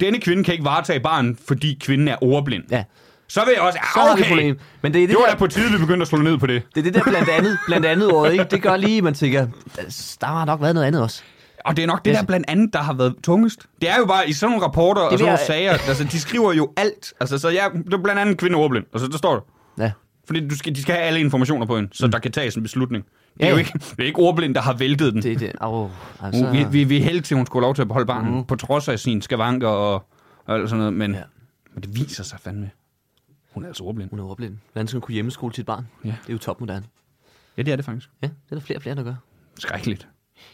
denne kvinde kan ikke varetage barn, fordi kvinden er ordblind.
Ja,
Så vil jeg også...
så
ah,
har vi et
okay.
problem. Men det er det,
Det var
der,
da på tide, vi begyndte at slå ned på det.
det, er det der blandt andet, blandt andet ord, ikke? Det gør lige, man tænker, der, der har nok været noget andet også.
Og det er nok det der blandt andet, der har været tungest. Det er jo bare i sådan nogle rapporter og
Det
sådan nogle
bliver-
sager, altså, de skriver jo alt. Altså, så ja, det er blandt andet kvinde er ordblind. Altså, der står det.
Ja.
Fordi du skal, de skal have alle informationer på hende, så der kan tages en beslutning. Det er
Mm. Ja,
jo
ja.
ikke, det er ikke ordblind, der har væltet den.
Det er det. Au, altså,
Så... Vi, vi, vi er heldige til, at hun skulle have lov til at beholde barnet, mm. på trods af sine skavanker og, og alt sådan noget. Men,
Ja.
ja. men det viser sig fandme. Hun er altså ordblind.
Hun er ordblind. Hvordan skal hun kunne hjemmeskole sit barn?
Ja.
Det er jo topmoderne.
Ja, det er det faktisk.
Ja, det er der flere og flere, der gør.
Skrækkeligt.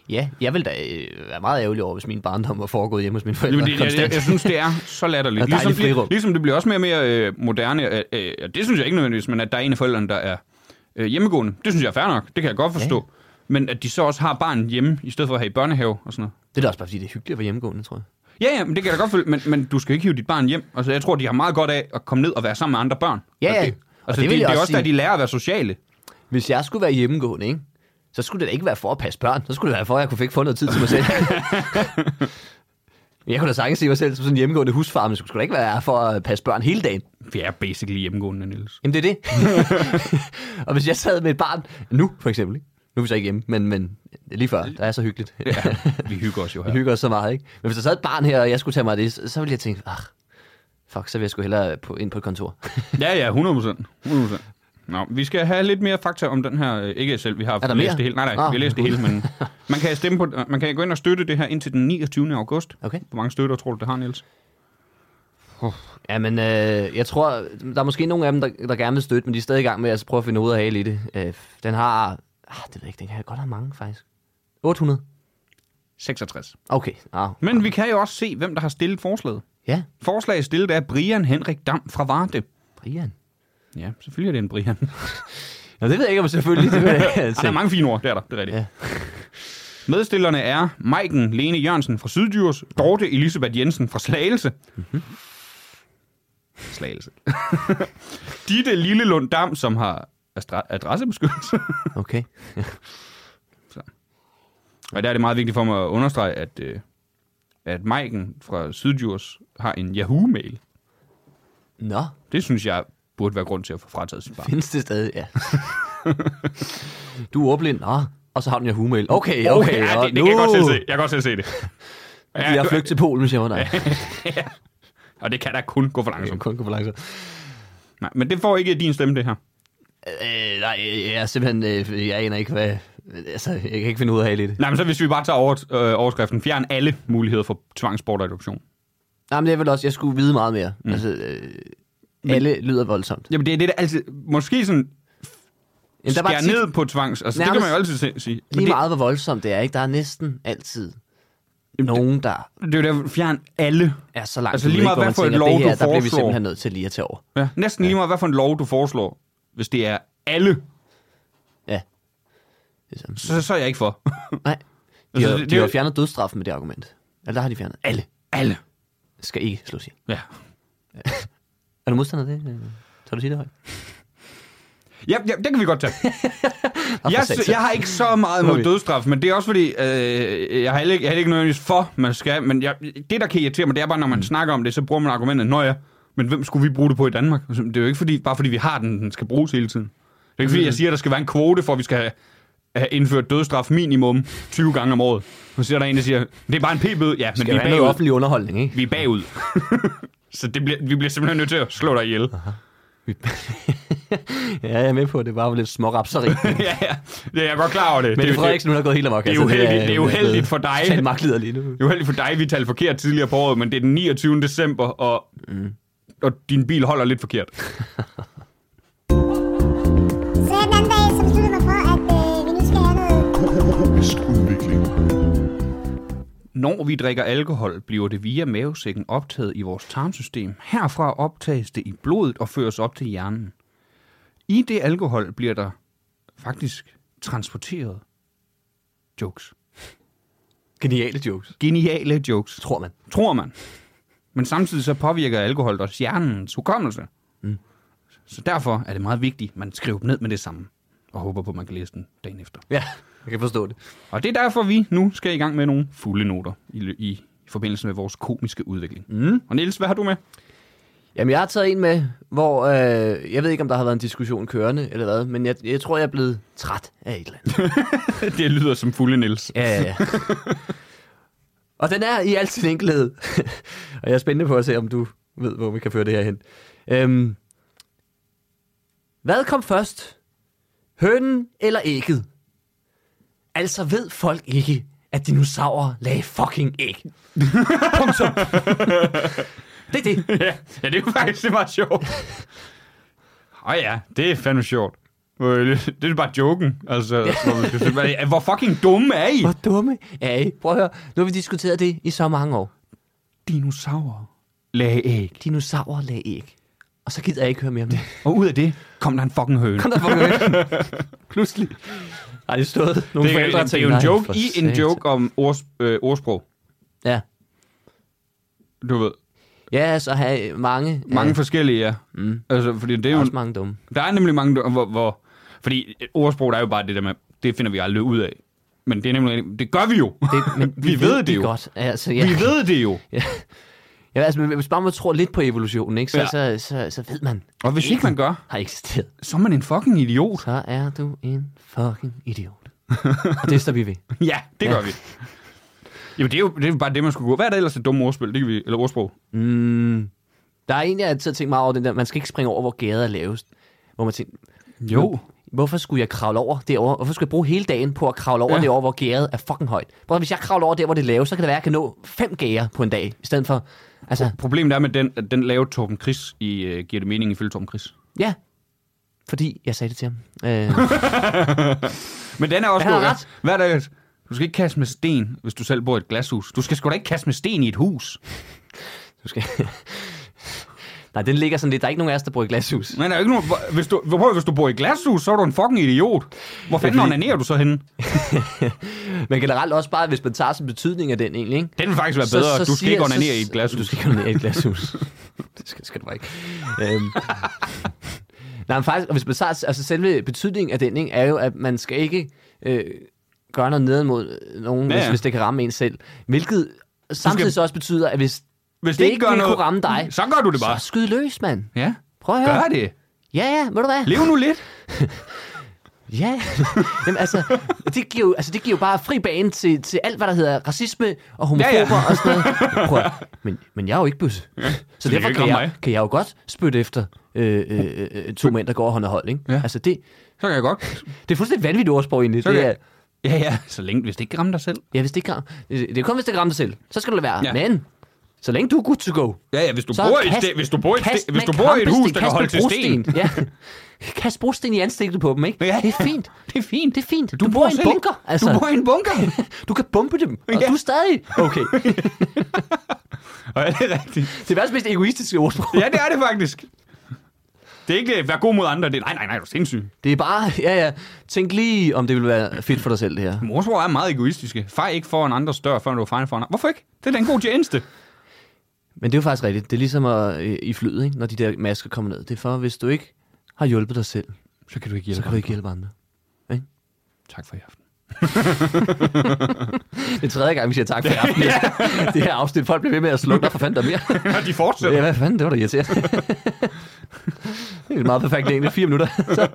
Ja, jeg ville da øh, være meget ærgerlig over, hvis min barndom var foregået hjemme hos mine forældre.
Jamen, det, jeg, jeg, jeg synes, det er så latterligt.
Og dejligt
Ligesom,
frirum.
lig- ligesom det bliver også mere og mere øh, moderne. Øh, øh, og det synes jeg ikke nødvendigvis, men at der er en af forældrene, der er øh, hjemmegående. Det synes jeg er fair nok. Det kan jeg godt forstå. Ja. Men at de så også har barnet hjemme, i stedet for at have i børnehave og sådan noget.
det er da også bare, fordi det er hyggeligt at være hjemmegående, tror jeg.
Ja, ja, men det kan jeg da godt følge, men, men du skal ikke hive dit barn hjem. Altså, jeg tror, de har meget godt af at komme ned og være sammen med andre børn.
Ja, ja.
Og det,
Og
altså, det,
det vil
det,
jeg
det er
også
også der,
sige.
de lærer at være sociale.
Hvis jeg skulle være hjemmegående, ikke? så skulle det da ikke være for at passe børn. Så skulle det være for, at jeg kunne fik få noget tid til mig selv. Men jeg kunne da sagtens se mig selv som sådan en hjemmegående husfar, men det skulle da ikke være for at passe børn hele dagen.
Vi er basically hjemmegående, Niels.
Jamen, det er det. og hvis jeg sad med et barn nu, for eksempel. ikke? Nu er vi så ikke hjemme, men, men lige før, der er så hyggeligt.
Ja, vi hygger os jo
Vi
her.
hygger os så meget, ikke? Men hvis der sad et barn her, og jeg skulle tage mig af det, så, så ville jeg tænke, ah, fuck, så vil jeg sgu hellere på, ind på et kontor.
Ja, ja, 100 procent. 100 procent. Nå, vi skal have lidt mere fakta om den her, øh, ikke selv, vi har
Er der
læst
mere?
det hele. Nej, nej,
Ah.
vi har læst det hele, men man kan, stemme på, man kan gå ind og støtte det her indtil den 29. august.
Okay.
Hvor mange støtter tror du, det har, Niels?
Jamen, øh, jeg tror, der er måske nogle af dem, der, der gerne vil støtte, men de er stadig i gang med at prøve at finde ud af i det. Øh, den har... Ah, det ved jeg ikke, den kan godt have mange, faktisk. 800?
66.
Okay. Ah,
Men vi kan jo også se, hvem der har stillet forslaget.
ja,
Forslaget stillet er Brian Henrik Dam fra Varde.
Brian.
Ja, selvfølgelig er det en Brian.
Nå, det ved jeg ikke, om selvfølgelig. Det vil jeg
Ah, der er mange fine ord, det er der, det er rigtigt.
Ja.
Ja. Medstillerne er Maiken Lene Jørgensen fra Syddjurs, Dorte Elisabeth Jensen fra Slagelse. Mm-hmm.
Mhm.
Slagelse. Ditte Lillelund Dam, som har astra- adressebeskyttelse.
Okay.
Og der er det meget vigtigt for mig at understrege, at, øh, at Maiken fra Syddjurs har en Yahoo-mail.
Nå,
Det synes jeg burde være grund til at få frataget sin barn.
findes det stadig, ja. du er ordblind, nå. Og så har den jo humail. Okay, okay. okay
Oh, ja, det, det kan jeg godt selv se. Jeg kan godt selv se det.
Ja, jeg
du-
flygter til Polen, hvis jeg var dig.
Og det kan da kun gå for langsomt.
kun gå på langsomt.
Nej, men det får ikke din stemme, det her.
Øh, nej, jeg er simpelthen... Øh, jeg aner ikke, hvad... Altså, jeg kan ikke finde ud af det.
Nej, men så hvis vi bare tager over, øh, overskriften, fjern alle muligheder for tvangsbortadoption.
Nej, men det er vel også... Jeg skulle vide meget mere. Mm. Altså, øh, alle lyder voldsomt.
Jamen det er det, der altid... Måske sådan
Men der er bare
skære
tit,
ned på tvangs... Altså, det kan
Nærmest-
man jo altid se- sige. Men
lige
det,
meget, hvor voldsomt det er, ikke? Der er næsten altid nogen, der
det er jo der, fjern alle.
er så langt
Altså,
ude,
lige
ikke?
meget,
hvor man
hvad for et
tænker,
lov,
det her,
du
der bliver vi
foreslår.
simpelthen nødt til lige at tage over.
Ja, næsten lige meget, hvad for en lov, du foreslår. Hvis det er alle,
Ja. Det er sådan.
så, så er jeg ikke for.
Nej. De
Altså,
har,
det-
de
det-
har fjernet dødstraffen med det argument. Eller der har de fjernet. Alle
alle.
skal ikke slås ihjel.
Ja.
Er du modstander af det? Øh, Tør du sige det højt?
Ja, ja, det kan vi godt tage. jeg,
satan.
jeg har ikke så meget
Må vi?
mod dødsstraf, men det er også fordi, øh, jeg har heller ikke, jeg har heller ikke nødvendigvis for, man skal, men jeg, det, der kan irritere mig, det er bare, når man mm. snakker om det, så bruger man argumentet, nå ja, men hvem skulle vi bruge det på i Danmark? Altså, Det er jo ikke fordi, bare fordi vi har den, den skal bruges hele tiden. Det er ikke fordi,
Mm.
jeg siger, at der skal være en kvote for, at vi skal have, have indført dødsstraf minimum 20 gange om året. Så siger der en, der siger, det er bare en p-bøde. Ja, men
Skal
vi
vi
er
have noget
bagud.
offentlig underholdning, ikke?
Vi er bagud. så det bliver, vi bliver simpelthen nødt til at slå dig ihjel.
Ja, jeg er med på, at det bare var lidt smårapseri.
ja, ja. ja, jeg er godt klar over det.
Men
det, det,
Frederiksen, hun har gået helt amok. altså.
det er uheldigt- det er uheldigt for dig.
Han magtlider lige nu.
Det er jo heldigt for dig, vi talte forkert tidligere på året, men det er den 29. december, og, mm. og din bil holder lidt forkert.
Så den anden dag, så besluttede jeg mig for, at øh, vi nu skal have noget
Komisk udvikling.
Når vi drikker alkohol, bliver det via mavesækken optaget i vores tarmsystem. Herfra optages det i blodet og føres op til hjernen. I det alkohol bliver der faktisk transporteret jokes.
Geniale jokes,
Geniale jokes,
tror man.
tror man. Men samtidig så påvirker alkohol også hjernens hukommelse. Mm. Så derfor er det meget vigtigt, at man skriver dem ned med det samme, og håber på, at man kan læse den dagen efter.
Ja, jeg kan forstå det.
Og det er derfor, vi nu skal i gang med nogle fulde noter i, lø- i, i forbindelse med vores komiske udvikling. Mm. Og Niels, hvad har du med?
Jamen, jeg har taget en med, hvor... Øh, jeg ved ikke, om der har været en diskussion kørende eller hvad, men jeg, jeg tror, jeg er blevet træt af et eller andet.
det lyder som fulde Niels.
Ja, ja, ja. og den er i al sin enkelhed. og jeg er spændende på at se, om du ved, hvor vi kan føre det her hen. Øhm, hvad kom først? Hønen eller ægget? Altså ved folk ikke, at dinosaurer lagde fucking æg. Punktum. det er det.
Ja, ja det er jo faktisk det er meget sjovt. Åh ja, det er fandme sjovt. Øh, Det det er bare joken. Altså, hvor, man skal sige, "Hvad- hvor fucking dumme er I?
Hvor dumme er I? Prøv at høre. Nu har vi diskuteret det i så mange år.
Dinosaurer lagde æg.
Dinosaurer lagde æg. Og så gider jeg ikke høre mere om det.
Og ud af det kom der en fucking høne.
Kom der for Pludselig. Ej, det stod nogle
Det er,
forældre
det, det er jo en joke i en joke om ords, øh, ordsprog.
Ja.
Du ved,
Ja, så har mange.
mange
ja,
forskellige, ja. Mm. Altså, fordi det er jo
også
en,
mange dumme.
Der er nemlig mange, der- hvor, hvor fordi et ordsprog, der er jo bare det der med, det finder vi aldrig ud af. Men det er nemlig, det gør vi jo.
Det, men
vi, ved det
de
jo.
Godt. Altså,
Ja.
ja.
Vi ved det jo.
Ja, altså, men hvis bare man tror lidt på evolutionen, ikke, så,
Ja.
ja. så, så, så, ved man,
Og hvis ikke man gør,
har eksisteret.
så er man en fucking idiot.
Så er du en fucking idiot. Og det står vi ved.
Ja, det
Ja.
gør vi. Jamen, det er jo det er jo bare det, man skulle gå. Hvad er der ellers et dumt ordspil? Det kan vi, eller ordsprog?
Mm. Der er en, jeg altid har tænkt meget over, den der, man skal ikke springe over, hvor gader er lavest. Hvor man tænker,
Jo.
Hvorfor skulle jeg kravle over derover? Hvorfor skulle jeg bruge hele dagen på at kravle over ja.
Ja.
derover, hvor gæret er fucking højt? Prøv, at- hvis jeg kravler over der, hvor det er lavt, så kan det være, at jeg kan nå fem gærer på en dag, i stedet for... Altså,
Problemet er med den, at den lave Torben Chris i uh, Giver det mening ifølge Torben Chris.
ja. Fordi jeg sagde det til ham. Øh,
Men den er også
Han har
god, ja.
ret.
Hvad er det? Du skal ikke kaste med sten, hvis du selv bor i et glashus. Du skal sgu da ikke kaste med sten i et hus.
du skal... Nej, den ligger sådan lidt. Der er ikke nogen af os, der bor i glashus.
Men der er jo ikke nogen, hvor- hvis, du, prøv, at- hvis du bor i et glashus, så er du en fucking idiot. Hvor fanden
fordi-
onanerer du så henne?
Men generelt også bare, hvis man tager sin betydning af den egentlig, ikke?
Den vil faktisk være bedre. du skal
siger-
ikke onanere
så-
i et glashus.
Du skal ikke onanere i et glashus. det skal, skal du bare ikke. Øhm. Nej, men faktisk, og hvis man tager, altså selve betydningen af den, ikke, er jo, at man skal ikke øh, gøre noget ned mod øh, nogen, ja,
Ja,
ja.
ja.
Hvis, hvis det kan ramme en selv. Hvilket samtidig så også betyder, at hvis,
Hvis
det ikke ville kunne ramme dig,
så gør du det bare.
så skyd løs, mand.
Ja.
Prøv at høre.
Gør det.
Ja, ja, ved du hvad?
Lev nu lidt.
Ja, Jamen, altså, det giver jo, altså, det giver jo bare fri bane til, til alt, hvad der hedder racisme og homofober ja,
Ja,
ja.
ja.
og sådan noget. Prøv, at- men, men jeg er jo ikke bøsse. Ja, så
det kan
derfor
ikke
kan
ramme
jeg,
mig.
kan jeg jo godt spytte efter øh, øh, øh, to mænd, der går hånd og hold. Ikke? Ja.
Ja.
Altså, det,
Så kan jeg godt.
det er fuldstændig vanvittigt ordsprog egentlig.
Så
Det
kan
er,
jeg. Ja, ja. Så længe, hvis det ikke rammer dig selv.
ja, hvis det, ikke, ram- øh, det det er kun, hvis det rammer dig selv. Så skal det lade være. Ja.
Ja.
Men så længe du er good to go,
Ja, ja, hvis du
så
bor i et
kast-
sted, hvis du bor i et
kast
sted, hvis
med
du bor i et hus,
kampesten,
der kan
kast
holde
med
til sten.
brosten. Ja. Kast brosten i ansigtet på dem, ikke?
Ja.
Det er fint.
Det er fint.
Det er fint. Du, du bor i en
selv
bunker. Altså.
Du bor i en bunker.
Du kan bombe dem, og
Ja.
du er stadig okay.
Og er det rigtigt?
Det er verdens mest egoistiske ordsprog.
Ja, det er det faktisk. Det er ikke at være god mod andre. Det er, nej, nej, nej, du er sindssyg.
Det er bare, ja ja, tænk lige, om det ville være fedt for dig selv, det her.
Morsord er meget egoistiske. Fej ikke foran andres dør, før du er fejret foran andre. Hvorfor ikke? Det er da en god tjeneste.
Men det er jo faktisk rigtigt. Det er ligesom at, øh, i flyet, ikke? når de der masker kommer ned. Det er for, hvis du ikke har hjulpet dig selv,
Så kan du ikke
så
hjælpe
kan du ikke hjælpe andre.
Tak for i aften.
Det er tredje gang, vi siger tak for i aften. Det her afsnit, folk bliver ved med at slukke dig for fanden der er mere.
Og de fortsætter.
Ja, hvad fanden, det var da irriterende. det er meget perfekt egentlig, fire minutter. Så.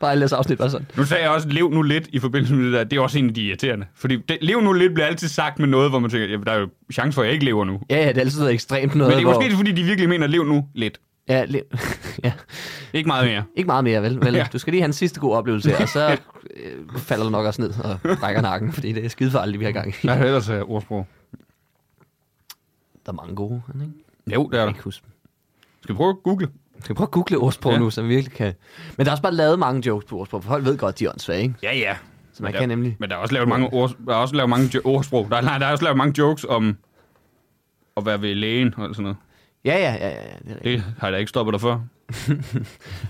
Bare alle deres afsnit var sådan.
Nu sagde jeg også, lev nu lidt i forbindelse med det der. Det er også en af de irriterende. Fordi det, lev nu lidt bliver altid sagt med noget, hvor man tænker, jamen, der er jo chance for, at jeg ikke lever nu.
Ja, ja, det er altid noget ekstremt noget.
Men det er
hvor...
måske, fordi de virkelig mener, lev nu lidt.
Ja, le... ja,
Ikke meget mere.
Ikke meget mere, vel? vel? Ja.
Ja.
Du skal lige have en sidste god oplevelse her, og så øh, falder du nok også ned og brækker nakken, fordi det er skide for aldrig, vi har gang i.
Hvad er det ellers af ordsprog?
Der er mange gode, er der ikke?
Jo, det er der.
Jeg kan ikke huske. dem.
Skal vi prøve at google?
Skal vi prøve at google ordsprog ja.
Ja.
nu, så vi virkelig kan... Men der er også bare lavet mange jokes på ordsprog, for folk ved godt, de er åndssvage, ikke?
Ja, ja.
Så man kan nemlig...
Men der er også lavet mange, ord, der er også lavet mange jo- ordsprog. Der er, nej, der er også lavet mange jokes om at være ved lægen og sådan noget.
Ja, ja, ja, ja, ja, det er rigtigt.
Det har jeg da ikke stoppet dig for.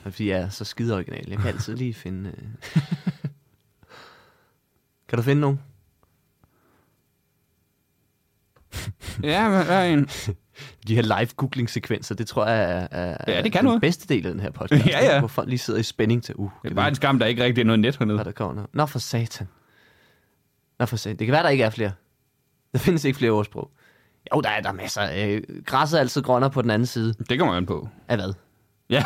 Fordi jeg er så skide original. Jeg kan altid lige finde... Øh... kan du finde nogen?
Ja, men der er en.
De her live-googling-sekvenser, det tror jeg er, er,
Ja, det kan
er den
noget.
bedste del af den her podcast.
Ja, ja.
ikke? Hvor folk lige sidder i spænding til... Uh,
Det
kan
er
vi-
bare en skam, der ikke rigtig er noget net hernede.
Nå, der kommer noget. Nå, for satan. Nå, for satan. Det kan være, der ikke er flere. Der findes ikke flere ordsprog. Jo, der er der er masser. Øh, græsset er altid grønnere på den anden side.
Det kommer an på.
Af hvad?
Ja.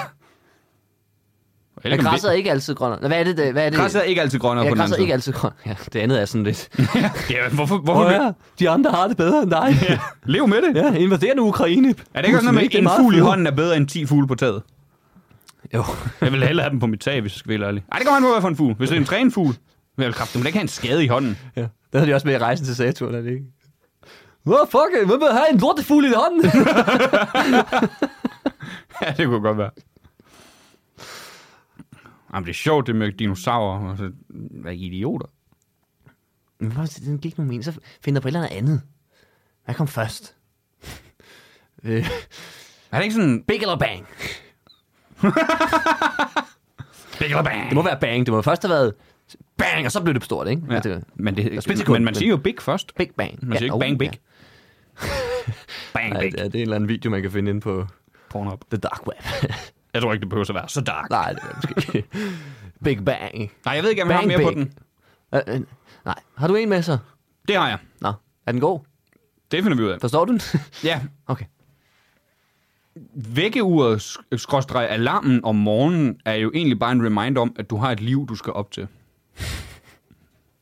Men græsset er ikke altid grønnere. Nå, Hvad er det? det hvad er det?
Græsset er ikke altid grønnere
ja,
på den
græsset
anden
er ikke altid grønnere. Ja, det andet er sådan lidt.
side. Ja, hvorfor, hvorfor oh, ja.
de andre har det bedre end dig. Ja,
Lev med det. Ja.
ja invader nu Ukraine.
Er det ikke også noget med, at en fugl i hånden er bedre end 10 fugle på taget?
Jo.
Jeg vil hellere have dem på mit tag, hvis jeg skal være helt ærlig. Ej, det kommer an på, hvad for en fugl. Hvis det er en trænfugl, vil jeg kraftigt, du må da ikke have en skade i hånden.
Ja. Det havde de også med i rejsen til Saturn, er det ikke? Hvor fuck, hvem vil have en lortefugl i hånden?
Ja, det kunne godt være. Jamen, det er sjovt, det med dinosaurer. Altså, hvad idioter.
Men prøv at se, den gik nu men, så finder jeg på et eller andet andet. Hvad kom først? Øh,
Er det ikke sådan...
Big eller bang?
Big eller bang?
Det må være bang. Det må først have været bang, og så blev det stort, ikke?
Ja.
At det-
Men,
er
det,
splitsekund,
men man
men-
siger jo big først.
Big bang.
Man siger ikke
oh,
bang big.
Ja.
Bang
Ej,
big.
det er- det er en eller anden video, man kan finde inde på
Pornhub.
The Dark Web.
Jeg tror ikke, det behøver at være så dark.
nej, det er det måske ikke. Big bang.
Nej, jeg ved ikke, om jeg har
Bang,
mere på
big.
den.
Øh, øh, nej, har du en med så?
Det har jeg.
Nå, er den god?
Det finder vi ud af.
Forstår du den?
Ja.
okay.
Vækkeuret, sk- skråstreg alarmen om morgenen, er jo egentlig bare en reminder om, at du har et liv, du skal op til.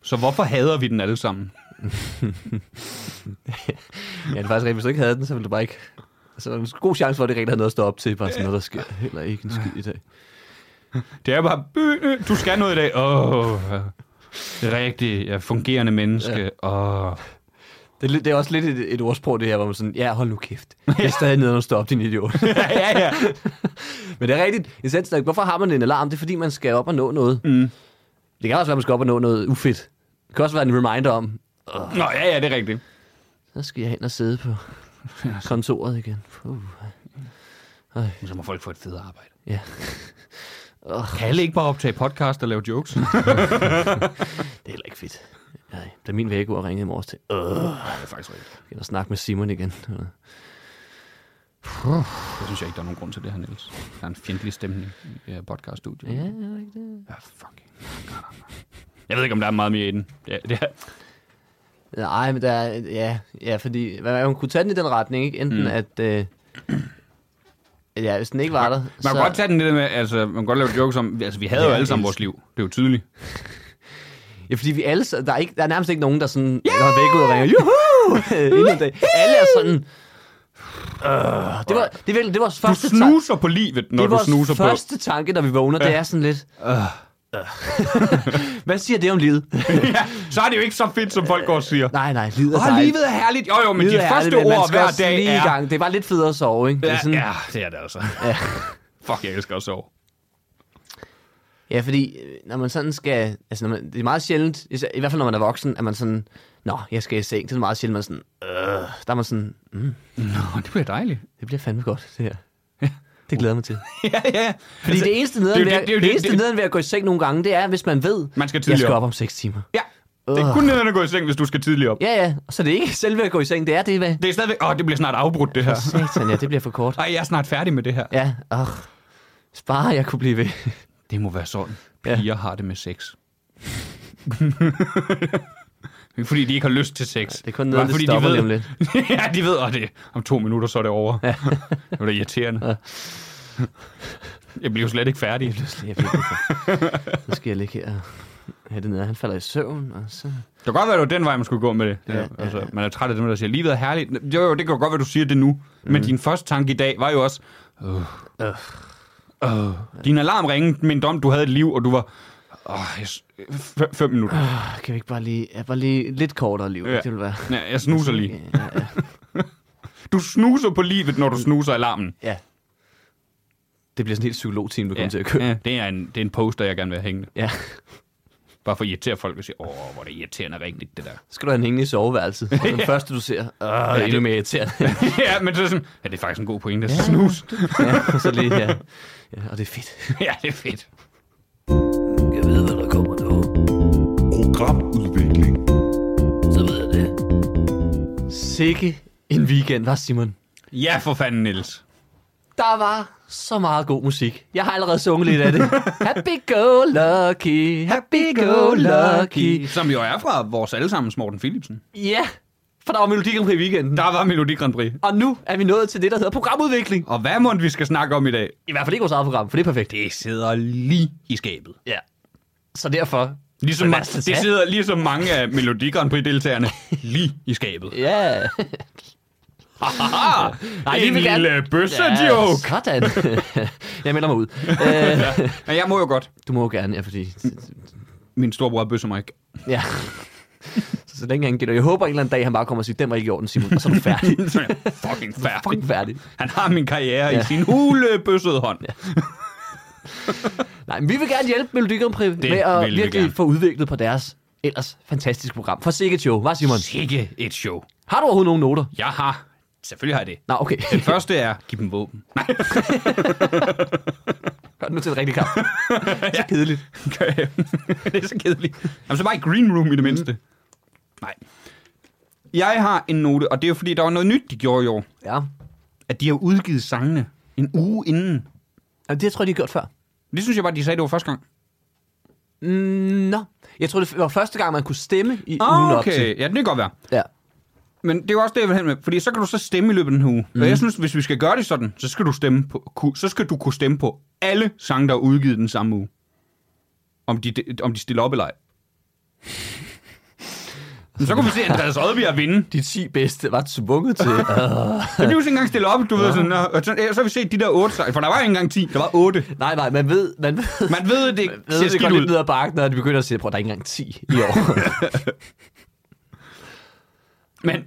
Så hvorfor hader vi den alle sammen?
Ja, det er faktisk rigtigt. Hvis du ikke Altså, havde den, så ville du bare ikke... Så er der en god chance for, at det rent havde noget at stå op til. Bare sådan noget, der sker heller ikke en skid i dag.
Det er bare, "Øh, øh, du skal noget i dag. Åh, oh, rigtig ja, fungerende menneske. Åh. Oh.
Det, er lidt- det er også lidt et, et ordsprog, det her, hvor man sådan, ja, hold nu kæft. Jeg er stadig nede og stå op, din idiot.
Ja, ja, ja.
Men det er rigtigt. Essens, er, hvorfor har man en alarm? Det er, fordi man skal op og nå noget. Mm. Det kan også være, at man skal op og nå noget ufedt. Det kan også være en reminder om,
Nå, ja, ja, det er rigtigt.
så skal jeg hen og sidde på kontoret igen. Puh,
Så må folk få et fedt arbejde.
ja.
Kan alle ikke bare optage podcast og lave jokes?
Det er heller ikke fedt. Nej, da min vækkeur ringede i morges til, øh,
det er faktisk rigtigt.
jeg skal snakke med Simon igen.
Det synes jeg ikke, der er nogen grund til det her, Niels. Der er en fjendtlig stemning i øh, podcaststudiet.
Ja, er det ikke det?
Ja, fuck. Jeg ved ikke, om der er meget mere i den. Ja, det er,
Nej, men der er, ja, ja, fordi hvad- man kunne tage den i den retning, ikke? Enten mm. at, øh, ja, hvis den ikke var der,
man kan
så,
godt tage den lidt med, altså, man kan godt lave jokes om, altså, vi havde
Ja,
jo alle sammen
Niels.
vores liv. Det er jo tydeligt.
Ja, fordi vi alle, der er, ikke, der er nærmest ikke nogen, der sådan, yeah! har væk ud og ringer, juhu, inden i dag. Alle er sådan, øh, det var, det, var, det var
Du
første tanke,
snuser på livet, når
det
du
var
snuser på.
første tanke, da vi vågner, det er sådan lidt, øh. Hvad siger det om livet?
Ja, så er det jo ikke så fedt, som folk går og siger.
nej, nej, livet er
Åh,
dejligt.
livet er herligt. Jo, jo, men
Livet
de
er
første
ærligt, men man
ord
skal
hver
også
dag
lige i
er...
gang. Det er bare lidt federe at sove, ikke? Det er
Ja,
sådan,
ja, det er det altså.
Ja.
Fuck, jeg elsker at sove.
Ja, fordi øh, når man sådan skal... Altså, når man, det er meget sjældent, især- i hvert fald når man er voksen, at man sådan... Nå, jeg skal i seng. Det er meget sjældent, man sådan... Øh, der er man sådan... Mm,
Nå, det bliver dejligt.
det bliver fandme godt, det her. Det glæder jeg mig til.
ja, ja.
Fordi altså, det eneste nederen
det
ved,
er jo
at-
det- det er jo
det,
det-
eneste
det-
nederen ved at gå i seng nogle gange, det er, hvis man ved,
Man skal
jeg
tidligere
skal
op.
op om 6 timer.
Ja, det er kun nederne at gå i seng, hvis du skal tidligt op.
Ja, ja. Så det er ikke selve at gå i seng, det er det, hvad?
Det er stadigvæk... Åh, det bliver snart afbrudt, det her.
Satan, ja, det bliver for kort.
Ej, jeg er snart færdig med det her.
Ja, åh. Spare, jeg kunne blive ved.
Det må være sådan.
Ja.
Piger ja. har det med sex. fordi de ikke har lyst til sex.
Det er kun noget, det stopper lige om lidt.
ja, de ved, at det, om to minutter, så er det over. Ja. det var da irriterende. Ja. Jeg bliver jo slet ikke færdig. Der
Pludselig, jeg ved ikke. Så skal jeg ligge her og have det nede. Han falder i søvn, og så...
kan godt være, at det var den vej, man skulle gå med det. det
Ja,
ja,
ja,
altså, Man er træt af dem, der siger, livet er herligt. Jo, jo, det kan jo godt være, du siger det nu. Mm. Men din første tanke i dag var jo også, øh,
Øh.
øh. din alarm ringede, mindte om, du havde et liv, og du var, åh, jeg, s- f- fem minutter.
Ah, Kan vi ikke bare lige, ja, bare lige lidt kortere liv?
Ja.
Ja. Det vil være.
Ja, jeg snuser lige.
Ja, ja, ja.
Du snuser på livet,
Mm.
når du snuser alarmen.
ja. Det bliver sådan en helt psykologteam, du kommer til at køre.
ja. Det, er en, det er en poster, jeg gerne vil have hængende.
Ja.
Bare for at irritere folk og sige, åh, hvor er det irriterende rigtigt, det der.
Så skal du have en hængende i soveværelset. Det er Den første, du ser. Åh, ja, endnu
det-
mere irriterende.
ja, men så er det sådan, ja, det er faktisk en god pointe at snus.
ja, og så lige, ja. ja. Og det er fedt.
ja, det er fedt.
Jeg ved, hvad der kommer nu.
Programudvikling.
Så ved jeg det.
Sikke en weekend, var Simon?
Ja, for fanden, Niels.
Der var så meget god musik. Jeg har allerede sunget lidt af det. Happy go lucky, happy go lucky.
Som jo er fra vores allesammens Morten Philipsen.
Ja, for der var Melodi Grand Prix i weekenden.
Der var Melodi Grand Prix.
Og nu er vi nået til det, der hedder programudvikling.
Og hvad må vi skal snakke om i dag?
I hvert fald ikke vores eget program, for det er perfekt.
Det sidder lige i skabet.
Ja. Så derfor...
Ligesom,
Men
ma-
lad os da
det
tage.
sidder ligesom mange af Melodi Grand Prix-deltagerne lige i skabet.
Ja.
Aha!
Nej, vi
en
vil gerne-
lille bøsse-joke!
sådan. jeg melder mig ud. Øh,
Men jeg må jo godt.
du må jo gerne, ja, fordi...
Min storebror bøsser mig ikke.
Ja. Så, så længe han gælder. Jeg håber en eller anden dag, han bare kommer og siger, den var ikke i orden, Simon. Og så er du færdig.
Så er jeg fucking
Fucking
færdig.
færdig.
Han har min karriere ja. i
Ja.
sin hulebøssede hånd. Ja.
Nej, men vi vil gerne hjælpe Melodi Grand Prix med
vil
at
vi
virkelig
gerne.
få udviklet på deres ellers fantastiske program. For sikkert show, hva' Simon?
Sikke et show.
Har du overhovedet nogen noter?
Jeg har. Selvfølgelig har jeg det.
Nå, okay.
Den første er, giv dem våben. Nej,
Gør det nu til en rigtig kamp. Så kedeligt.
gør jeg. det er så kedeligt. Jamen, så bare i green room i det mindste. Nej. Jeg har en note, og det er jo fordi, der var noget nyt, de gjorde i år.
Ja.
At de har udgivet sangene en uge inden.
Jamen, det tror jeg, de har gjort før.
Det synes jeg bare, de sagde, det var første gang.
Mm, Nå. Jeg tror, det var første gang, man kunne stemme i
Ah,
oh, ugen op til.
Ja, det kan godt være.
Ja.
Men det er jo også det, jeg vil hen med, fordi så kan du så stemme i løbet af den her uge. Mm. Og jeg synes, hvis vi skal gøre det sådan, så skal, du stemme på, ku- så skal du kunne stemme på alle sange, der er udgivet den samme uge. Om de, de- om de stiller op eller ej. Men så kunne vi se Andreas Oddbjerg vinde.
De 10 bedste var tvunget til.
Det blev sådan engang stillet op, du ved sådan, og, og så, ja, så har vi set de der otte sejre, for der var ikke engang 10, der var 8.
nej, nej, man ved, man ved,
Man ved, det ikke
man
ser
ved det
skidt
godt lidt ned
ud.
ad bakken, når de begynder at sige, prøv, der er ikke engang 10 i år.
Men,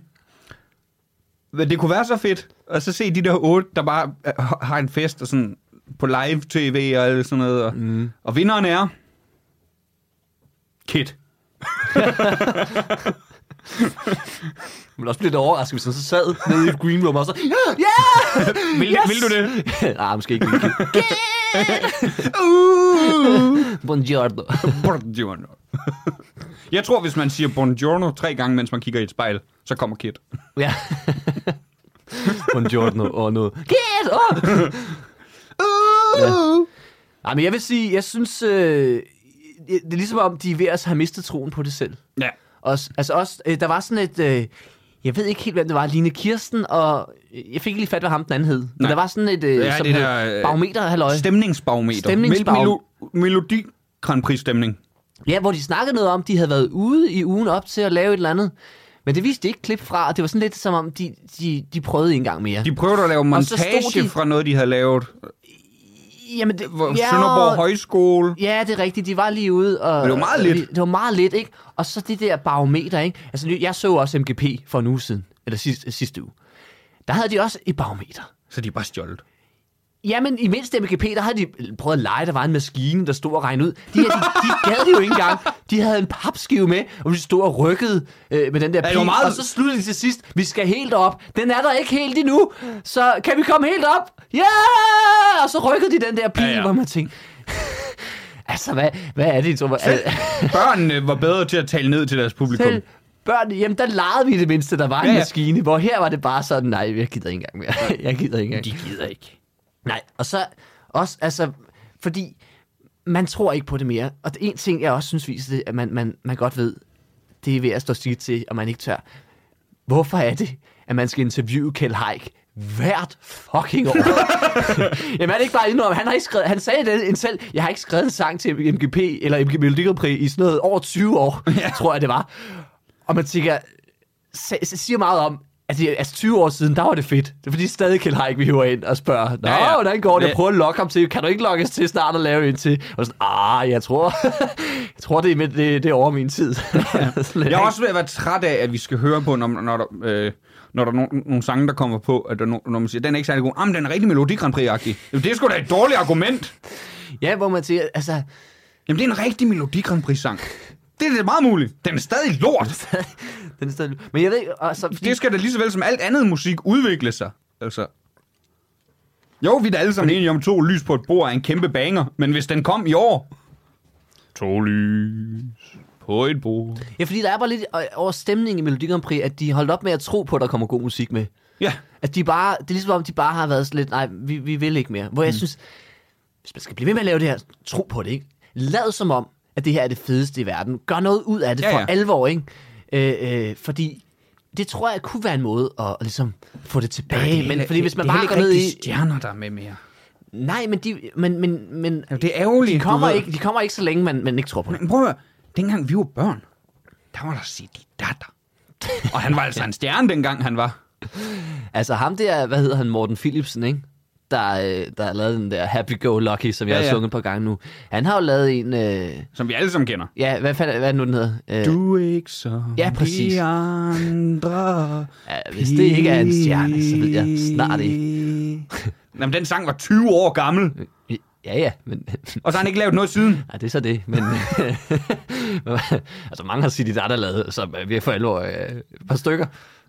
men det kunne være så fedt at så se de der otte, der bare øh, har en fest og sådan på live tv og alt sådan noget. Og, mm. og vinderen er... Kit.
Men også blev det overrasket, hvis han så sad nede i et green room og så, ja, yeah!
Vil, yes! vil du det?
Nej, måske ikke. lige.
Uh!
Buongiorno.
Buongiorno. Jeg tror, hvis man siger buongiorno tre gange, mens man kigger i et spejl, så kommer Kit.
ja. Buongiorno og noget. Yes! Oh!
Uh!
Nej, Ah, men jeg vil sige, jeg synes, øh, det er ligesom om, de er ved at have mistet troen på det selv.
Ja. ja.
Også, altså også, øh, der var sådan et, øh, jeg ved ikke helt, hvem det var, Line Kirsten, og jeg fik ikke lige fat, hvad ham den anden hed. Men
Nej.
der var sådan et, øh, ja, som det der, øh, barometer, halløj.
Stemningsbarometer.
Stemningsbarometer.
Mel- melo- Melodi Grand Prix stemning.
Ja, hvor de snakkede noget om, de havde været ude i ugen op til at lave et eller andet. Men det viste de ikke klip fra, og det var sådan lidt som om, de, de, de prøvede en gang mere.
De prøvede at lave
Og så stod
montage de...
de-
fra noget, de havde lavet.
Jamen, det,
Hvor ja, Sønderborg Højskole.
Ja, det er rigtigt. De var lige ude. Og,
Men det var meget lidt.
Det var meget lidt, ikke? Og så det der barometer, ikke? Altså, nu- jeg så også MGP for en uge siden, eller sidste, sidste uge. Der havde de også et barometer.
Så de er bare stjålet.
Jamen, i mindst MGP, der havde de øh, prøvet at lege, der var en maskine, der stod og regnede ud. De, her, de, de gad det jo ikke engang. De havde en papskive med, og de stod og rykkede øh, med den der
det
pil.
var meget-
Og så sluttede de til sidst, vi skal helt op. Den er der ikke helt endnu, så kan vi komme helt op? Ja! Yeah! Og så rykkede de den der pil,
Ja,
ja,
ja.
ja. hvor man tænkte... altså, hvad, hvad er det, I tror? Selv,
Børnene var bedre til at tale ned til deres publikum.
selv børn, jamen der legede vi i det mindste, der var en
Ja, ja.
maskine, hvor her var det bare sådan, nej, jeg gider ikke engang mere. jeg gider ikke engang.
De gider ikke.
Nej, og så også, altså, fordi man tror ikke på det mere. Og det en ting, jeg også synes viser det, at man, man, man godt ved, det er ved at stå skidt til, og man ikke tør. Hvorfor er det, at man skal interviewe Kjell Haik hvert fucking år? Jamen er det ikke bare indrømme, han, har ikke skrevet, han sagde det selv, jeg har ikke skrevet en sang til MGP, eller MGP Melodi Grand Prix i sådan noget over 20 år, ja. tror jeg det var. Og man tænker, sa- sa- siger meget om, at det, altså 20 år siden, der var det fedt. Det er fordi stadig Kjell Haik, vi hiver ind og spørger, Nå,
Ja,
ja,
ja.
ja. hvordan går det?
Det-
Jeg prøver at lokke ham til, kan du ikke lokke os til snart at lave en til? Og sådan, ah, jeg tror, jeg tror det, er med, det, det er over min tid. Sådan,
Jeg er også ved at være træt af, at vi skal høre på, når, når der... Øh, når der er no- nogle sange, der kommer på, at der no- når man siger, den er ikke særlig god. Jamen, den er rigtig Melodi Grand Prix-agtig. Jamen, det er sgu da et dårligt argument.
Ja, hvor man siger, altså,
Jamen, det er en rigtig Melodi Grand Prix-sang. Det er da meget muligt. Den er stadig lort.
den er stadig... Men jeg ved, ikke, altså, fordi,
Det skal da lige så vel som alt andet musik udvikle sig. Altså. Jo, vi er da alle sammen enige om, to lys på et bord er en kæmpe banger, men hvis den kom i år... To lys på et bord.
ja, fordi der er bare lidt øh, over stemningen i Melodi Grand Prix, at de holdt op med at tro på, at der kommer god musik med.
Ja,
At de bare, det er ligesom om, de bare har været sådan lidt, nej, vi, vi vil ikke mere.
Mm.
Hvor jeg synes, hvis man skal blive ved med at lave det her, tro på det, ikke? Lad som om, at det her er det fedeste i verden. Gør noget ud af det
Ja,
ja, ja.
ja.
for alvor, ikke? Øh, øh, fordi det tror jeg kunne være en måde at, at ligesom få det tilbage. Ja, det men fordi hvis man bare går ned i...
stjerner, der er med mere.
Nej, men de, men, men, men,
Jamen, det er ærgerligt.
de, kommer
du ved.
ikke, de kommer ikke så længe, man, man ikke tror på det.
Men prøv at høre. Dengang vi var børn, der var der Sidi Datter. Og han var altså en stjerne, dengang han var.
Altså ham der, hvad hedder han, Morten Philipsen, ikke? Der, øh, der har lavet den der Happy Go Lucky, som jeg
Ja,
ja, ja.
ja.
har sunget på gang nu. Han har jo lavet en... Øh,
Som vi alle sammen kender.
Ja, hvad, fanden, hvad er det nu, den hedder? Øh,
Du er ikke som
Ja, præcis.
de andre.
ja, hvis det ikke er en stjerne, så ved jeg snart ikke.
Jamen, den sang var 20 år gammel,
Ja, ja, men
og så har han ikke lavet noget siden.
nej, det er så det. Men, altså, mange har City Data lavet, som øh, vi har for alvor øh, et par stykker.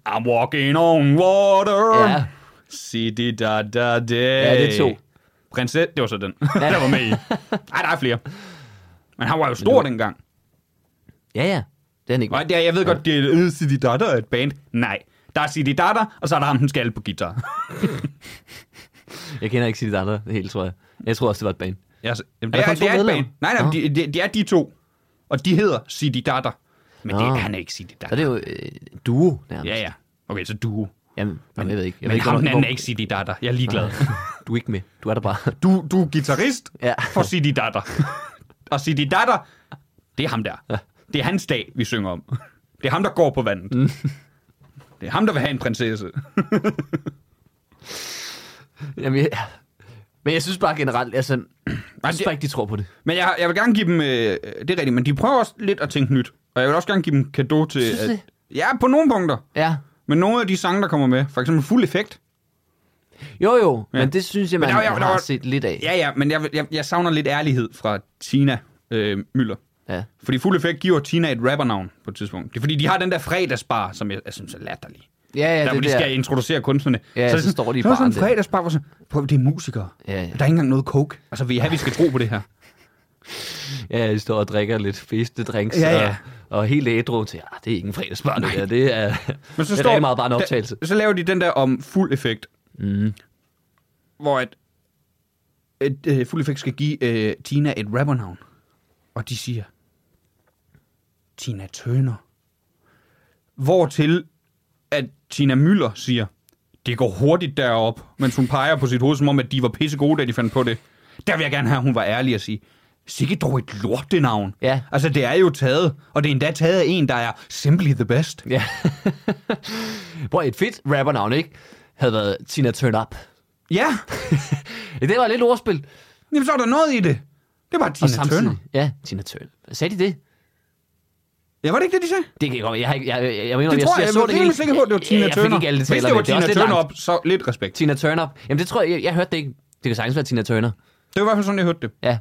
I'm walking on water.
Ja.
City da da day.
Ja, det er to.
Prinsesse, det var så den, ja. der var med i. Ej, der er flere. Men han var jo stor dengang.
Ja, ja, det er han ikke.
Nej, det er, jeg ved godt, det er øh, City Dada er et band. Nej, der er City Dada, og så er der ham, den skal på guitar.
Jeg kender ikke City Data helt, tror jeg. Jeg tror også, det var et bane.
Jeg, s- jamen,
Er
det
der
er,
kun
det
to
er et
medlemmer?
band. Nej, nej,
Nå.
de, de, de, er de to. Og de hedder City Dada. Men det,
Nå.
han er ikke City
Så er
Dada.
det jo øh, duo nærmest.
Ja, ja. Okay, så du.
Jamen, men, jeg ved ikke. Jeg ved
Men
ikke,
ham den
hvornår-
anden er ikke City Dada. Jeg er ligeglad.
hvor- Du er ikke med. Du er der bare.
Du, du er guitarist
Ja.
for City Dada. og City Dada, det er ham der. Det er hans dag, vi synger om. Det er ham, der går på vandet. Det er ham, der vil have en prinsesse.
Jamen, jeg, men jeg synes bare generelt, altså, jeg synes
det-
bare ikke, de tror på det.
Men jeg, jeg vil gerne give dem... Øh, det er rigtigt, men de prøver også lidt at tænke nyt. Og jeg vil også gerne give dem kado til...
Synes du
at,
det?
ja, på nogle punkter.
Ja.
Men nogle af de sange, der kommer med, for eksempel Fuld Effekt.
Jo, jo,
Ja.
ja. men det synes jeg,
Men
man
der var-
der,
der
der, har
var-
set lidt af.
Ja, ja, men jeg, jeg, jeg savner lidt ærlighed fra Tina øh, Møller.
ja.
Fordi Fuld Effekt giver Tina et rappernavn på et tidspunkt. Det er fordi, de har den der fredagsbar, som jeg, jeg synes er latterlig.
Ja, ja,
Ja, der, hvor
det
de
der.
skal introducere kunstnerne.
Ja,
er det
så
sådan-
står de i
så er der
baren
sådan en
der.
fredagsbar, hvor sådan, prøv, det er musikere.
Ja, ja.
Der er ikke engang noget coke. Altså, vi har, vi skal tro på det her.
Ja, de står og drikker lidt festedrinks
Ja, ja.
Og, og helt ædru til, ah, det er ingen fredagsbar, det der. Det er,
Men så
det er
står,
rigtig meget bare en optagelse.
Da, så laver de den der om fuld effekt. Mm. Hvor at, at øh, fuld effekt skal give øh, Tina et rappernavn. Og de siger, Tina Turner. Hvortil, at Tina Møller siger, det går hurtigt derop, mens hun peger på sit hoved, som om, at de var pisse gode, da de fandt på det. Der vil jeg gerne have, at hun var ærlig og sige, sikke dog et lortenavn.
Ja.
Altså, det er jo taget, og det er endda taget af en, der er simply the best.
Ja. Prøv, et fedt rappernavn, ikke? Havde været Tina Turn Up.
Ja,
Ja, Det var lidt ordspil.
Jamen, så er der noget i det. Det var Tina Turner.
Ja, Tina Turner. Sagde de det?
Ja, var det ikke det, de sagde?
Det kan jeg godt Jeg, har ikke- jeg, jeg, jeg, jeg, mener,
Det
jeg,
tror jeg,
jeg,
jeg,
så
jeg,
det
jeg,
hele.
jeg, sikker på, at det var
Jeg-
Tina
jeg, jeg
Turner.
fik alle
Hvis det
detaljerne,
var
men er
Tina
også lidt
Turner
langt.
op, så lidt respekt.
Tina Turner. Jamen, det tror jeg, jeg, jeg hørte det ikke. Det kan sagtens være Tina Turner.
Det var i hvert fald sådan, jeg hørte det.
Ja,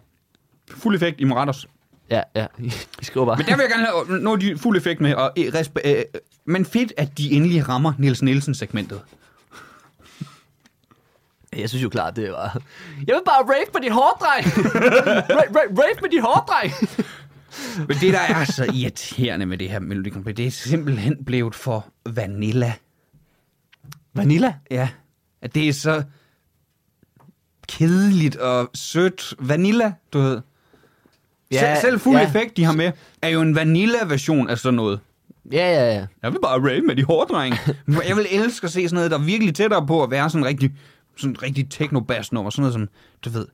Fuld effekt i Moratos.
ja, ja. I skriver bare.
Men der vil jeg gerne have noget de fuld effekt med. Og, øh, respe- øh, men fedt, at de endelig rammer Niels Nielsen-segmentet.
Jeg synes jo klart, det var... Jeg vil bare rave med dit hårdreng! ra- ra- rave med dit hårdreng!
Men det, der er så irriterende med det her Melodi Grand Prix, det er simpelthen blevet for vanilla.
Vanilla?
Ja. At det er så kedeligt og sødt. Vanilla, du ved. Ja, selv, selv fuld ja. effekt, de har med, er jo en vanilla-version af sådan noget.
Ja, ja, ja.
Jeg vil bare rave med de hårde drenge. Men Jeg vil elske at se sådan noget, der er virkelig tættere på at være sådan en rigtig, sådan en rigtig techno-bass nummer. Sådan noget som, du ved,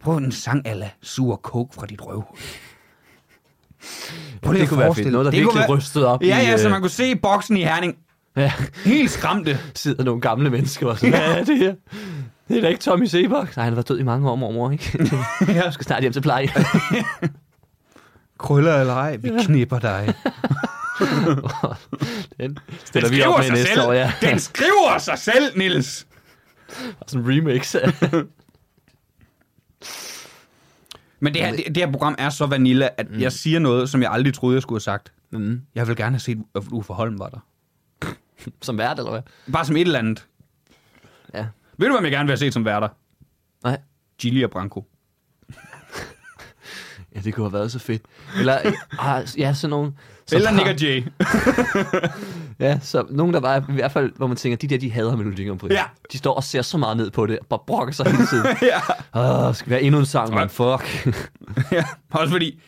prøv en sang ala sur coke fra dit røvhul. Prøv lige
det
at
kunne være fedt.
forestille dig.
Noget, der
kunne
virkelig rystede op
Ja,
i,
ja, så
øh,
man kunne se boksen i Herning.
Ja,
Helt skræmte.
sidder nogle gamle mennesker og sådan, hvad er det her? Det er da ikke Tommy Sebak. Nej, han var død i mange år, mormor, ikke?
Ja.
Jeg skal snart hjem til pleje.
Krøller eller ej, vi knipper dig.
Den
Den
stiller vi op
skriver
med
sig
næste
selv.
år, ja.
Den skriver sig selv, Nils.
Og sådan en remix.
Men det her, det, det her program er så vanilla, at mm. jeg siger noget, som jeg aldrig troede, jeg skulle have sagt.
mm.
Jeg vil gerne have set, at Uffe Holm var der.
Som vært, eller hvad?
Bare som et eller andet.
Ja.
Ved du, hvem jeg gerne vil have set som værter?
Nej.
Gilly og Branko.
Ja, det kunne have været så fedt. Eller, ah, ja, sådan nogen... som
Eller
har-
Nick og Jay.
Ja, så nogen, der var i hvert fald, hvor man tænker, de der, de hader Melodi Grand Prix.
Ja.
De står og ser så meget ned på det, og bare brokker sig hele tiden.
ja.
Åh, skal være endnu en sang, man. Fuck.
ja. Også fordi,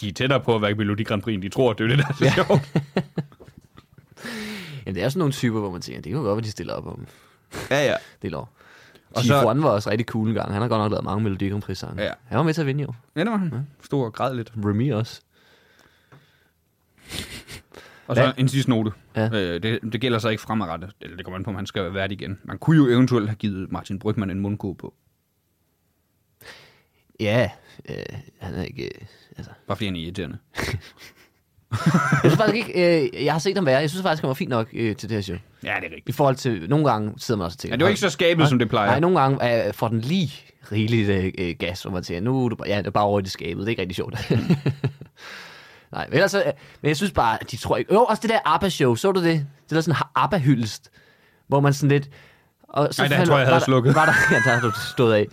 de er tættere på at være i Melodi Grand Prix, end de tror, det er det, der er så ja. sjovt.
Jamen, det er sådan nogle typer, hvor man tænker, det kan jo godt være, de stiller op om
Ja, ja.
det lov.
Og
Og så...
så-
Juan var også rigtig cool en gang. Han har godt nok lavet mange Melodi Grand Prix sange.
Ja.
Han var med til at vinde jo.
Ja, det var han. Stor og græd lidt.
Remy også.
Og så
Hvad?
en sidste note.
Ja.
Øh, det, det, gælder så ikke fremadrettet. Eller det kommer an på, om han skal være vært igen. Man kunne jo eventuelt have givet Martin Brygman en mundko på.
Ja, øh, han er ikke... Øh, altså.
Bare fordi han er irriterende.
Jeg synes faktisk ikke, øh, jeg har set ham være. Jeg synes faktisk, han var fint nok øh, til det her show.
Ja, det er rigtigt.
I forhold til, nogle gange sidder man også og tænker...
Ja, det var ikke så skabet, som det plejer.
Nej, nogle gange øh, får den lige rigeligt øh, øh, gas, hvor man tænker, nu er du bare, ja, det er bare over i det skabet. Det er ikke rigtig sjovt. Nej, men ellers, øh, men jeg synes bare, at de tror ikke... Jo, også det der ABBA-show, så du det? Det der sådan ABBA-hyldest, hvor man sådan lidt... Og så
Ej, der
fandt-
tror jeg, jeg
var
havde
der-
slukket.
Var der, ja, der har du stået af.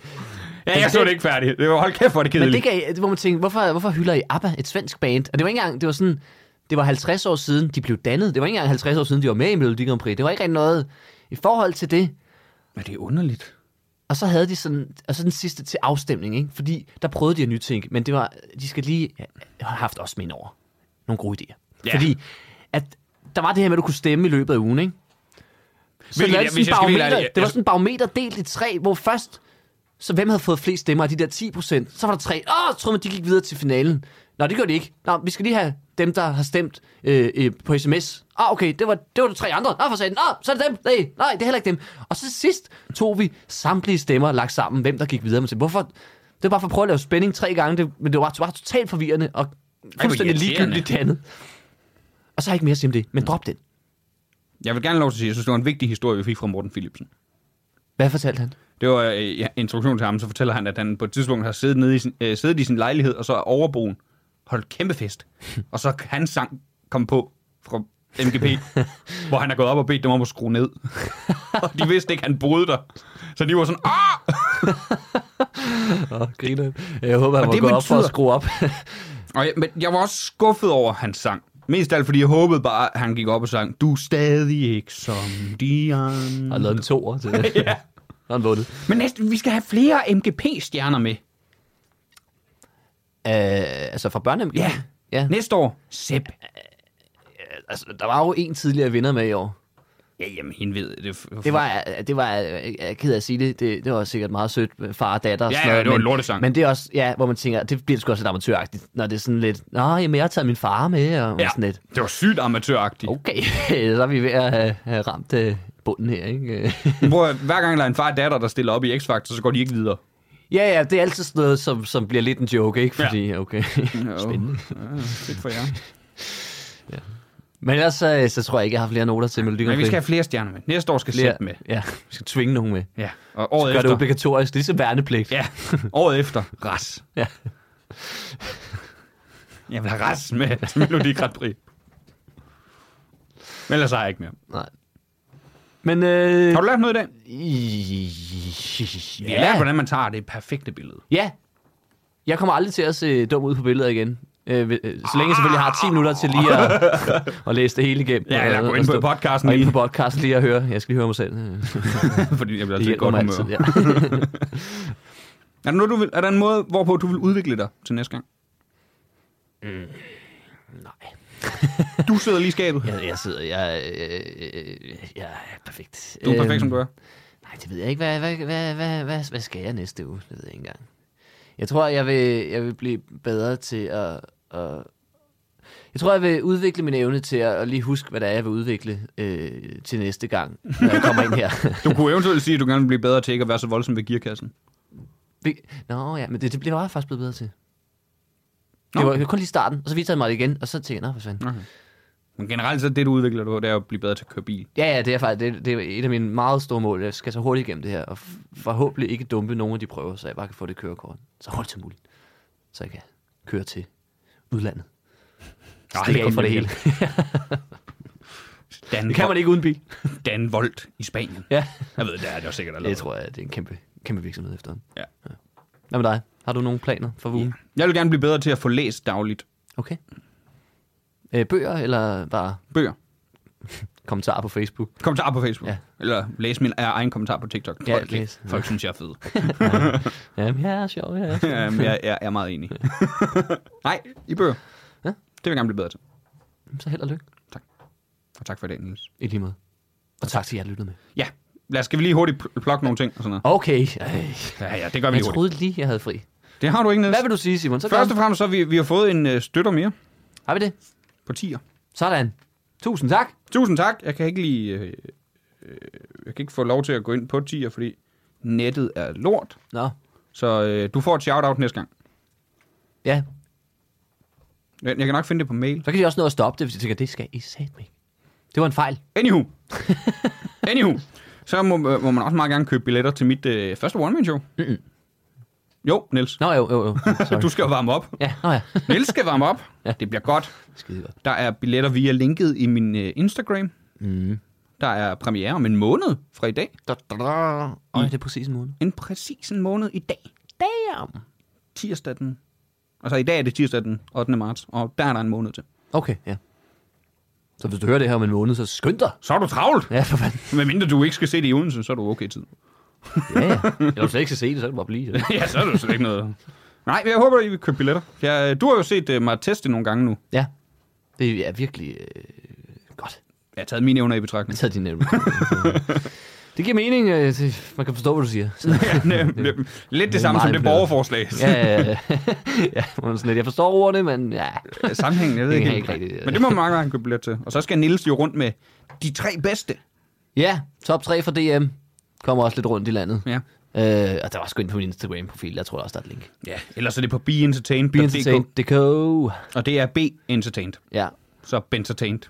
Ja, jeg så Altså, det ikke færdigt. Det var, hold kæft, hvor er det
Men det
kedeligt.
gav, hvor man tænkte, hvorfor, hvorfor hylder I ABBA, et svensk band? Og det var ikke engang, det var sådan, det var 50 år siden, de blev dannet. Det var ikke engang 50 år siden, de var med i Melodi Grand Prix. Det var ikke rigtig noget i forhold til det.
Men det er underligt.
Og så havde de sådan, og så den sidste til afstemning, ikke? fordi der prøvede de at nytænke, men det var, de skal lige have haft også med ind over nogle gode idéer.
Ja.
Fordi at der var det her med, at du kunne stemme i løbet af ugen, ikke? Så
Hvilket
Hvilket,
jeg-
det,
hvis jeg skal
sådan
være
barometer,
ærlig, jeg-
det var sådan en barometer delt i tre, hvor først, så hvem havde fået flest stemmer af de der 10 procent? Så var der tre, åh, så troede man, de gik videre til finalen. Nå, det gør de ikke. Nå, vi skal lige have dem, der har stemt øh, øh, på sms. Ah, okay, det var, det var de tre andre. Nå, for satan. Nå, så er det dem. Nej, nej, det er heller ikke dem. Og så sidst tog vi samtlige stemmer lagt sammen, hvem der gik videre. Man tænkte, hvorfor? Det var bare for at prøve at lave spænding tre gange, det, men det var bare totalt forvirrende og fuldstændig
irriterende.
ligegyldigt det andet. Og så har jeg ikke mere at sige om det, men drop den.
Jeg vil gerne have lov til at sige, at jeg synes, det var en vigtig historie, vi fik fra Morten Philipsen.
Hvad fortalte han?
Det var øh, ja, introduktion til ham, så fortæller han, at han på et tidspunkt har siddet, nede i sin, øh, siddet i sin lejlighed, og så er overboen holdt kæmpe fest. og så kan hans sang kom på fra MGP, hvor han er gået op og bedt dem om at skrue ned. og de vidste ikke, han boede der. Så de var sådan, ah!
Åh, griner. Jeg håber, han
Og
må
det
gå op for at
betyder-
skrue op.
Og jeg, men jeg var også skuffet over hans sang. Mest af alt, fordi jeg håbede bare, at han gik op og sang, du er stadig ikke som de
og
andre.
lavet en toer til det. ja. Og han vundet.
Men næste, vi skal have flere MGP-stjerner med.
Øh, altså fra børnem?
Ja.
ja.
Næste år, Sepp.
Altså, der var jo en tidligere vinder med i år.
Ja, jamen, hende ved det.
Det var, det var jeg er ked af at sige det, det, det var sikkert meget sødt, med far og datter og
Ja,
sådan
ja,
noget,
det var en
men-
lortesang.
Men det er også, ja, hvor man tænker, det bliver sgu også lidt amatøragtigt, når det er sådan lidt, nå, jamen, jeg har taget min far med, og ja. sådan lidt.
det var sygt amatøragtigt. Oh.
Okay, så er vi ved at have, have ramt øh, bunden her, ikke?
Prøv, at- hver gang der er en far og datter, der stiller op i X-Factor, så går de ikke videre.
ja, ja, det er altid sådan noget, som, som bliver lidt en joke, ikke?
Ja.
Fordi, okay.
Spændende. Ja, fedt for jer.
Men ellers øh, så, så tror jeg ikke, jeg har flere noter til Melodi
Men vi
Grand
skal
Prix.
have flere stjerner med. Næste år skal flere.
flere,
Sepp med.
Ja, vi skal tvinge nogen med.
Ja. Og året
Gør det
efter.
obligatorisk, ligesom værnepligt.
ja, året efter. Ras.
Ja.
Jeg vil have ras med til Melodi Grand Prix. Men ellers har jeg ikke mere.
Nej. Men øh,
Har du lært noget i dag?
I-
Vi har lært, hvordan man tager det perfekte billede.
Ja. Jeg kommer aldrig til at se dum ud på billeder igen. Øh, ved- øh, så længe jeg selvfølgelig har 10 minutter til lige at, at læse det hele igennem.
Ja, eller
Og-
gå
og
ind på
stå-
podcasten
Og ind
lige.
på podcasten lige at høre. Jeg skal lige høre mig selv. Øh, Det
Fordi jeg bliver altid i
hjælper
godt
mig
humør.
altid. Ja.
Er, der noget, du vil, er der en måde, hvorpå du vil udvikle dig til næste gang?
Nej,
Du sidder lige i skabet.
jeg, jeg sidder... Jeg, øh, øh, jeg er perfekt.
Du er perfekt,
Øhm,
som du er.
Nej, det ved jeg ikke. Hvad, hvad, hvad, hvad, hvad, hvad skal jeg næste uge? Det ved jeg ikke engang. Jeg tror, jeg vil, jeg vil blive bedre til at, at... Jeg tror, jeg vil udvikle min evne til at, at lige huske, hvad det er, jeg vil udvikle øh, til næste gang, når jeg kommer ind her.
Du kunne eventuelt sige, at du gerne vil blive bedre til ikke at være så voldsom ved gearkassen.
Vi- Nå ja, men det, det blev jeg faktisk blevet bedre til.
Nå.
Det var, det var kun lige starten, og så viste han mig det igen, og så tænkte jeg, "Nå, for fanden.
Men generelt så er det, du udvikler dig på, det er at blive bedre til at køre bil.
Ja, ja, det er faktisk det, det er et af mine meget store mål. Jeg skal så hurtigt igennem det her, og f- forhåbentlig ikke dumpe nogen af de prøver, så jeg bare kan få det kørekort så hurtigt som muligt. Så jeg kan køre til udlandet. Stik af
kom
for det
lige
hele.
Dan,
Det kan man ikke uden bil.
Dan Volt i Spanien.
Ja,
Jeg ved, det er det jo sikkert allerede.
det tror jeg, det er en kæmpe, kæmpe virksomhed efter.
Ja.
Hvad med dig? Har du nogle planer for ugen?
Jeg vil gerne blive bedre til at få læst dagligt
Okay. Øh, bøger eller bare
bøger.
kommentarer på Facebook?
Kommentarer på Facebook.
Ja.
Ja. Eller læse min egen kommentar på TikTok.
Ja,
Folk,
læs.
folk synes, jeg er fed.
Jamen, ja, er sjov, ja.
Jamen, jeg, jeg, er meget enig. Nej, i bøger. Ja.
Ja.
Det vil jeg gerne blive bedre til.
Så held og lykke.
Og tak for i dag, Niels.
I lige måde. Og tak til jer, der lyttede med.
Ja, lad os, skal vi lige hurtigt pl- plukke nogle ting og sådan noget.
Okay. Ej.
Ja, ja, det gør vi
Jeg
hurtigt.
troede lige, jeg havde fri.
Det har du ikke, Niels.
Hvad vil du sige, Simon? Så
Først og
kom.
fremmest så har vi, vi har fået en øh, støtter mere
Har vi det?
på 10'er.
Sådan. Tusind tak.
Tusind tak. Jeg kan ikke lige... Øh, øh, jeg kan ikke få lov til at gå ind på 10'er, fordi nettet er lort.
Nå,
Så øh, du får et shout-out næste gang.
ja.
Jeg jeg kan nok finde det på mail.
Så kan de også nå at stoppe det, hvis de tænker, det skal I satme ikke. Det var en fejl.
Anywho. Anywho. Så må, øh, må man også meget gerne købe billetter til mit øh, første one-man-show. Mm-mm. Jo, Niels.
Nå jo, jo, jo. Sorry.
Du skal jo varme op.
Ja, nå ja.
Niels skal varme op. ja. Det bliver godt.
Skide godt.
Der er billetter via linket i min øh, Instagram.
Mm.
Der er premiere om en måned fra i dag.
Da, da, da. Øj, det er præcis en måned.
En præcis en måned i dag.
Damn.
Tirsdag den. Altså i dag er det tirsdag den 8. marts, og der er der en måned til.
Okay, ja. Så hvis du hører det her om en måned, så skynd dig.
Så er du travlt.
Ja, for fanden.
Men mindre du ikke skal se det i Odense, så er du okay i tid.
Ja, ja. Eller hvis du ikke skal se det, så kan du bare blive.
ja, så er du slet ikke noget. Nej, men jeg håber, I vil købe billetter. Ja, du har jo set øh, mig teste nogle gange nu.
Ja. Det er virkelig øh, godt.
Jeg har taget mine evner i betragtning.
Jeg tager din nævnt. Det giver mening. øh, det- Man kan forstå, hvad du siger. Så,
Lidt
det er
det samme som
meget
det
imponeret.
borgerforslag.
ja, ja, ja. ja, man er sådan lidt, jeg forstår ordene, men ja.
Sammenhængen, jeg ved
Det
ikke,
kan
helt.
jeg ikke rigtig-
Men det må man meget gerne købe billet til. Og så skal Nils jo rundt med de tre bedste.
Ja, top 3 for DM. Kommer også lidt rundt i landet.
Ja.
Øh, og der var også gå ind på min Instagram-profil. Jeg tror der også, der er et link.
ja. Ellers er det på beentertained.dk.
Entertain.dk.
Og det er B-entertained.
Ja.
Så bentertained.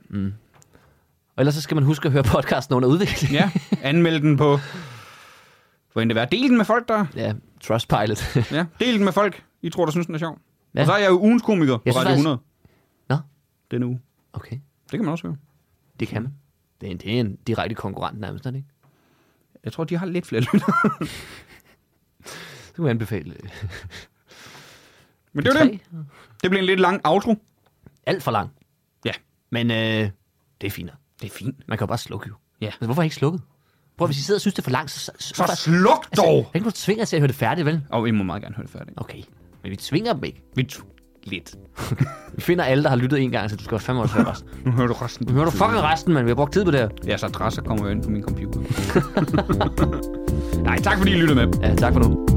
Og ellers så skal man huske at høre podcasten under udvikling.
Ja, anmeld den på... Hvor end det være. Del den med folk, der...
ja Trustpilot.
Ja, del den med folk, I tror, der synes, den er sjov.
Ja.
Ja. Og så er jeg jo ugens komiker på
Jeg synes
Radio
faktisk-
100
Nå,
denne uge.
okay.
Det kan man også høre.
Det kan man. Det er en, det er en direkte konkurrent nærmest, er det ikke?
Jeg tror, de har lidt flere lyttere.
Det kan man anbefale. øh,
Men det var
tre.
det. Det blev en lidt lang outro.
Alt for lang.
Ja,
Men øh, det er fint. nok.
det er fint.
Man kan jo bare slukke jo.
Ja.
Men hvorfor har I ikke slukket? Prøv, hvis I sidder og synes, det er for langt, så... Så,
Så sluk dog!
Altså, hvordan kan du tvinge os til at høre det færdigt, vel?
Og I må meget gerne høre det færdigt.
Okay. Men vi tvinger dem ikke.
Vi tog lidt.
Vi finder alle, der har lyttet en gang, så du skal også fandme også høre resten.
Nu hører du resten.
Nu hører du fucking resten, men vi har brugt tid på det her.
Jeres adresse kommer jo ind på min computer. Nej, tak fordi I lyttede med.
Ja, tak for nu.